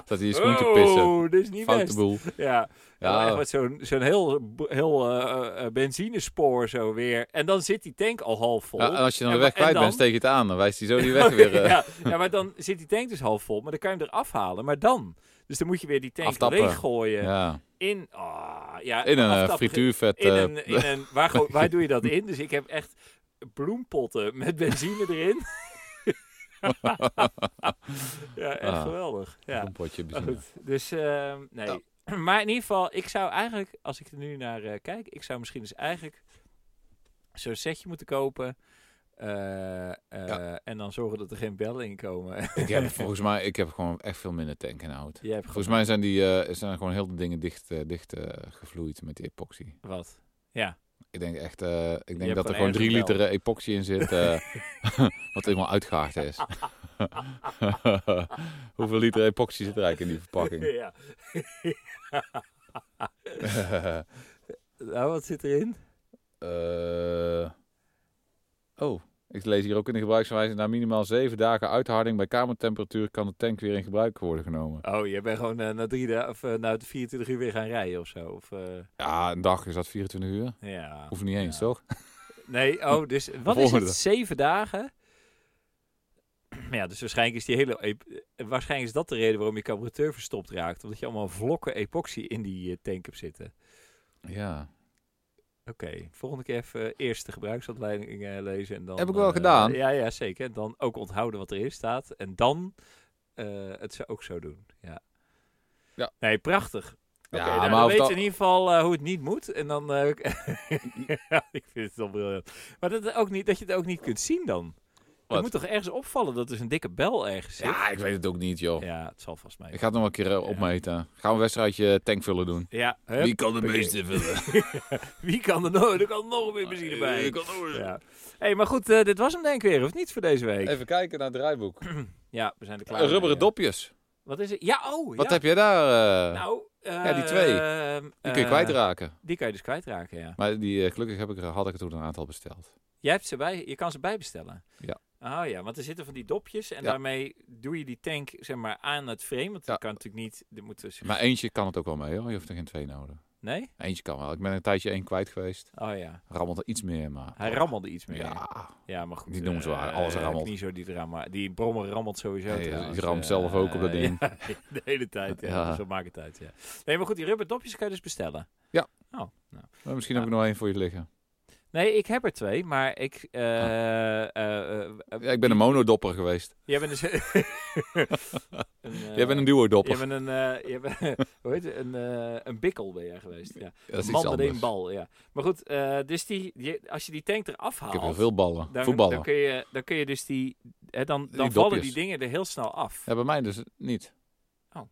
[SPEAKER 2] Dat hij je schoen te pissen.
[SPEAKER 1] Oh, dit is niet
[SPEAKER 2] Foute
[SPEAKER 1] best.
[SPEAKER 2] boel.
[SPEAKER 1] Ja, ja.
[SPEAKER 2] Ja.
[SPEAKER 1] echt met zo'n zo'n heel, bo- heel eh, eh, benzinespoor zo weer. En dan zit die tank al half vol.
[SPEAKER 2] Ja, en als je dan de
[SPEAKER 1] En
[SPEAKER 2] weg
[SPEAKER 1] wa- Oh. en
[SPEAKER 2] kwijt bent,
[SPEAKER 1] dan?
[SPEAKER 2] steek je het aan. Dan wijst hij zo die weg weer. eh,
[SPEAKER 1] ja, ja, maar dan zit die tank dus half vol. Maar dan kan je hem eraf halen. Maar dan? Dus dan moet je weer die tank
[SPEAKER 2] Aftappen.
[SPEAKER 1] leeggooien.
[SPEAKER 2] ja.
[SPEAKER 1] In, ah, ja,
[SPEAKER 2] In een eh,
[SPEAKER 1] aftappen-
[SPEAKER 2] frituurvet.
[SPEAKER 1] In
[SPEAKER 2] eh,
[SPEAKER 1] een, in een, waar, gooi- waar doe je dat in? Dus ik heb echt bloempotten met benzine erin. ja, echt
[SPEAKER 2] Ah.
[SPEAKER 1] geweldig. Ja.
[SPEAKER 2] een potje
[SPEAKER 1] Maar
[SPEAKER 2] benzine.
[SPEAKER 1] goed, dus ehm, nee.
[SPEAKER 2] Ja.
[SPEAKER 1] Maar in ieder geval, ik zou eigenlijk, als ik er nu naar eh, kijk, ik zou misschien dus eigenlijk zo'n setje moeten kopen. eh, eh, En dan zorgen dat er geen bellen in komen.
[SPEAKER 2] Ik heb volgens mij, ik heb gewoon echt veel minder tank en hout.
[SPEAKER 1] Jij hebt
[SPEAKER 2] Volgens mij zijn die eh, zijn gewoon heel de dingen dicht, eh, dicht eh, gevloeid met die epoxy.
[SPEAKER 1] gewoon- wat? Ja.
[SPEAKER 2] Ik denk echt, eh, ik denk
[SPEAKER 1] hebt
[SPEAKER 2] dat er
[SPEAKER 1] gewoon
[SPEAKER 2] gewoon drie
[SPEAKER 1] ergens een
[SPEAKER 2] liter eh, epoxy in zit, eh, wat helemaal uitgehaard is. Hoeveel liter epoxy zit er eigenlijk in die verpakking?
[SPEAKER 1] ja. Nou, wat zit erin?
[SPEAKER 2] Eh, oh, ik lees hier ook in de gebruiksaanwijzing. Na minimaal zeven dagen uitharding bij kamertemperatuur kan de tank weer in gebruik worden genomen.
[SPEAKER 1] Oh, je bent gewoon eh, na drie dagen of eh, na 24 uur weer gaan rijden of zo. Of, eh,
[SPEAKER 2] Ja, een dag is dat 24 uur.
[SPEAKER 1] ja.
[SPEAKER 2] Hoeft niet eens,
[SPEAKER 1] Ja.
[SPEAKER 2] toch?
[SPEAKER 1] Nee, oh, dus wat is
[SPEAKER 2] Volgende.
[SPEAKER 1] het? Zeven dagen? Ja, dus waarschijnlijk is, die hele, ep- eh, waarschijnlijk is dat de reden waarom je carburateur verstopt raakt. Omdat je allemaal vlokken epoxy in die eh, tank hebt zitten.
[SPEAKER 2] Ja.
[SPEAKER 1] Oké, volgende keer even eh, eerst de gebruiksanleiding eh, lezen. En dan,
[SPEAKER 2] Heb ik wel
[SPEAKER 1] eh,
[SPEAKER 2] gedaan.
[SPEAKER 1] Ja, ja, zeker. En dan ook onthouden wat erin staat. En dan eh, het zo- ook zo doen. Ja.
[SPEAKER 2] Ja.
[SPEAKER 1] Nee, prachtig. Oké,
[SPEAKER 2] Ja,
[SPEAKER 1] nou,
[SPEAKER 2] maar
[SPEAKER 1] dan
[SPEAKER 2] of
[SPEAKER 1] weet
[SPEAKER 2] dat-
[SPEAKER 1] je in ieder geval eh, hoe het niet moet. En dan... eh, ja, ik vind het wel briljant. Maar dat, het ook niet, dat je het ook niet kunt zien dan.
[SPEAKER 2] Wat?
[SPEAKER 1] Het moet toch ergens opvallen dat er een dikke bel ergens zit?
[SPEAKER 2] Ja, ik weet het ook niet, joh.
[SPEAKER 1] Ja, het zal vast
[SPEAKER 2] Ik
[SPEAKER 1] mij.
[SPEAKER 2] ga het nog wel een keer eh, opmeten. Gaan we een wedstrijdje tankvullen doen?
[SPEAKER 1] Ja, hup.
[SPEAKER 2] Wie kan de
[SPEAKER 1] Oké.
[SPEAKER 2] meeste vullen?
[SPEAKER 1] Wie kan er nog? Er kan nog meer benzine bij.
[SPEAKER 2] Eh, kan ook-
[SPEAKER 1] Ja. hey, maar goed, eh, dit was hem denk ik weer, of niet voor deze week?
[SPEAKER 2] Even kijken naar het draaiboek.
[SPEAKER 1] Ja, we zijn er klaar.
[SPEAKER 2] Eh, rubberen
[SPEAKER 1] mee, ja.
[SPEAKER 2] dopjes.
[SPEAKER 1] Wat is het? Ja, oh,
[SPEAKER 2] Wat
[SPEAKER 1] ja.
[SPEAKER 2] heb jij daar? eh?
[SPEAKER 1] Nou, eh,
[SPEAKER 2] Ja, die twee.
[SPEAKER 1] ehm,
[SPEAKER 2] die kun je
[SPEAKER 1] eh,
[SPEAKER 2] kwijtraken.
[SPEAKER 1] Die kan je dus kwijtraken, ja.
[SPEAKER 2] Maar die, eh, gelukkig heb ik, er- had ik er toen een aantal besteld.
[SPEAKER 1] Jij hebt ze bij, je kan ze bijbestellen.
[SPEAKER 2] Ja.
[SPEAKER 1] Oh ja, want er zitten van die dopjes en
[SPEAKER 2] Ja.
[SPEAKER 1] daarmee doe je die tank zeg maar aan het frame. Want
[SPEAKER 2] Ja.
[SPEAKER 1] dat kan natuurlijk niet, er moet dus...
[SPEAKER 2] Maar eentje kan het ook wel mee, hoor. Je hoeft er geen twee nodig.
[SPEAKER 1] Nee?
[SPEAKER 2] Eentje kan wel. Ik ben een tijdje één kwijt geweest.
[SPEAKER 1] Oh ja.
[SPEAKER 2] Rammelt er iets meer, maar...
[SPEAKER 1] Hij rammelde iets meer. Ja,
[SPEAKER 2] Oh. Ja,
[SPEAKER 1] maar goed.
[SPEAKER 2] Die noemen ze waar,
[SPEAKER 1] eh,
[SPEAKER 2] alles
[SPEAKER 1] eh,
[SPEAKER 2] rammelt.
[SPEAKER 1] Kniezo die drama, die brommer rammelt sowieso.
[SPEAKER 2] Ja, ja, die
[SPEAKER 1] trouwens.
[SPEAKER 2] ramt
[SPEAKER 1] Eh,
[SPEAKER 2] zelf ook op dat
[SPEAKER 1] eh,
[SPEAKER 2] ding.
[SPEAKER 1] ja, de hele tijd, ja.
[SPEAKER 2] Ja.
[SPEAKER 1] Dus dat maakt het uit, ja. Nee, maar goed, die rubberdopjes kan je dus bestellen.
[SPEAKER 2] Ja.
[SPEAKER 1] Oh, nou.
[SPEAKER 2] maar misschien heb ik er nog één voor je liggen.
[SPEAKER 1] Nee, ik heb er twee, maar ik... eh, eh, eh, eh,
[SPEAKER 2] Ah. Ja, ik ben een monodopper geweest.
[SPEAKER 1] Jij bent dus... een, eh,
[SPEAKER 2] Jij bent een duodopper.
[SPEAKER 1] Jij bent een, eh, jij bent, hoe heet het? Een, eh, een bikkel ben jij geweest. Ja.
[SPEAKER 2] Dat is
[SPEAKER 1] een
[SPEAKER 2] iets
[SPEAKER 1] man met
[SPEAKER 2] anders.
[SPEAKER 1] één bal, ja. Maar goed, eh, dus die, die- als je die tank eraf
[SPEAKER 2] Ik
[SPEAKER 1] haalt...
[SPEAKER 2] heb heel veel ballen.
[SPEAKER 1] dan,
[SPEAKER 2] Voetballen.
[SPEAKER 1] dan kun je, dan kun je dus die... Hè, dan
[SPEAKER 2] Die
[SPEAKER 1] dan vallen
[SPEAKER 2] dopjes.
[SPEAKER 1] die dingen er heel snel af. Ja,
[SPEAKER 2] Ja, bij mij dus niet.
[SPEAKER 1] Oh.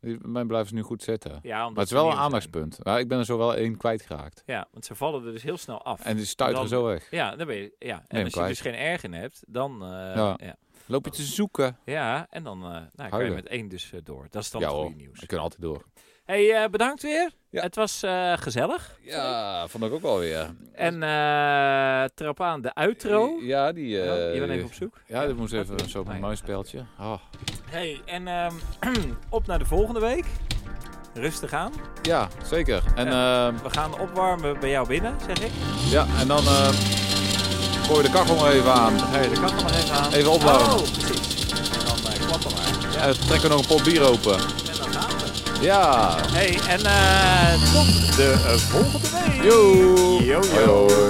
[SPEAKER 2] Die- Bij mij blijven ze nu goed zitten.
[SPEAKER 1] omdat
[SPEAKER 2] maar het is
[SPEAKER 1] ze
[SPEAKER 2] wel een
[SPEAKER 1] nieuw zijn.
[SPEAKER 2] aandachtspunt. Ja, ik ben er zo wel één kwijtgeraakt.
[SPEAKER 1] Ja, want ze vallen er dus heel snel af.
[SPEAKER 2] En die stuiteren
[SPEAKER 1] Dan-
[SPEAKER 2] zo weg.
[SPEAKER 1] Ja, dan ben je... Ja. En
[SPEAKER 2] hem
[SPEAKER 1] als je
[SPEAKER 2] kwijt.
[SPEAKER 1] dus geen erg in hebt, dan... eh,
[SPEAKER 2] Ja.
[SPEAKER 1] ja. Ja.
[SPEAKER 2] Loop je
[SPEAKER 1] Oh.
[SPEAKER 2] te zoeken?
[SPEAKER 1] en dan eh, nou, kan je
[SPEAKER 2] Huilen.
[SPEAKER 1] met één dus eh, door. Dat is dan
[SPEAKER 2] ja
[SPEAKER 1] het
[SPEAKER 2] hoor,
[SPEAKER 1] goede nieuws.
[SPEAKER 2] we kunnen altijd door.
[SPEAKER 1] hey, eh, bedankt weer.
[SPEAKER 2] Ja.
[SPEAKER 1] Het was eh, gezellig.
[SPEAKER 2] Ja, vond ik ook wel weer.
[SPEAKER 1] En eh trap aan de outro.
[SPEAKER 2] Ja, die... eh,
[SPEAKER 1] Oh, je bent even op zoek.
[SPEAKER 2] Ja, dat moest even zo op
[SPEAKER 1] Ah,
[SPEAKER 2] mijn
[SPEAKER 1] ja.
[SPEAKER 2] muispeeltje. Oh.
[SPEAKER 1] Hey, en ehm, op naar de volgende week. Rustig aan.
[SPEAKER 2] Ja, zeker. En, ehm,
[SPEAKER 1] We gaan opwarmen bij jou binnen, zeg ik.
[SPEAKER 2] ja, en dan ehm gooi je de kachel nog even aan.
[SPEAKER 1] Hey, de kat nog even aan.
[SPEAKER 2] Even opwarmen.
[SPEAKER 1] Oh, precies. En dan eh, klappen maar. Ja,
[SPEAKER 2] En we trekken nog een pot bier open.
[SPEAKER 1] en dan gaan we.
[SPEAKER 2] Ja.
[SPEAKER 1] Hey, en eh, tot de eh, volgende week.
[SPEAKER 2] Yo.
[SPEAKER 1] Yo, yo.
[SPEAKER 2] Hoi, hoi.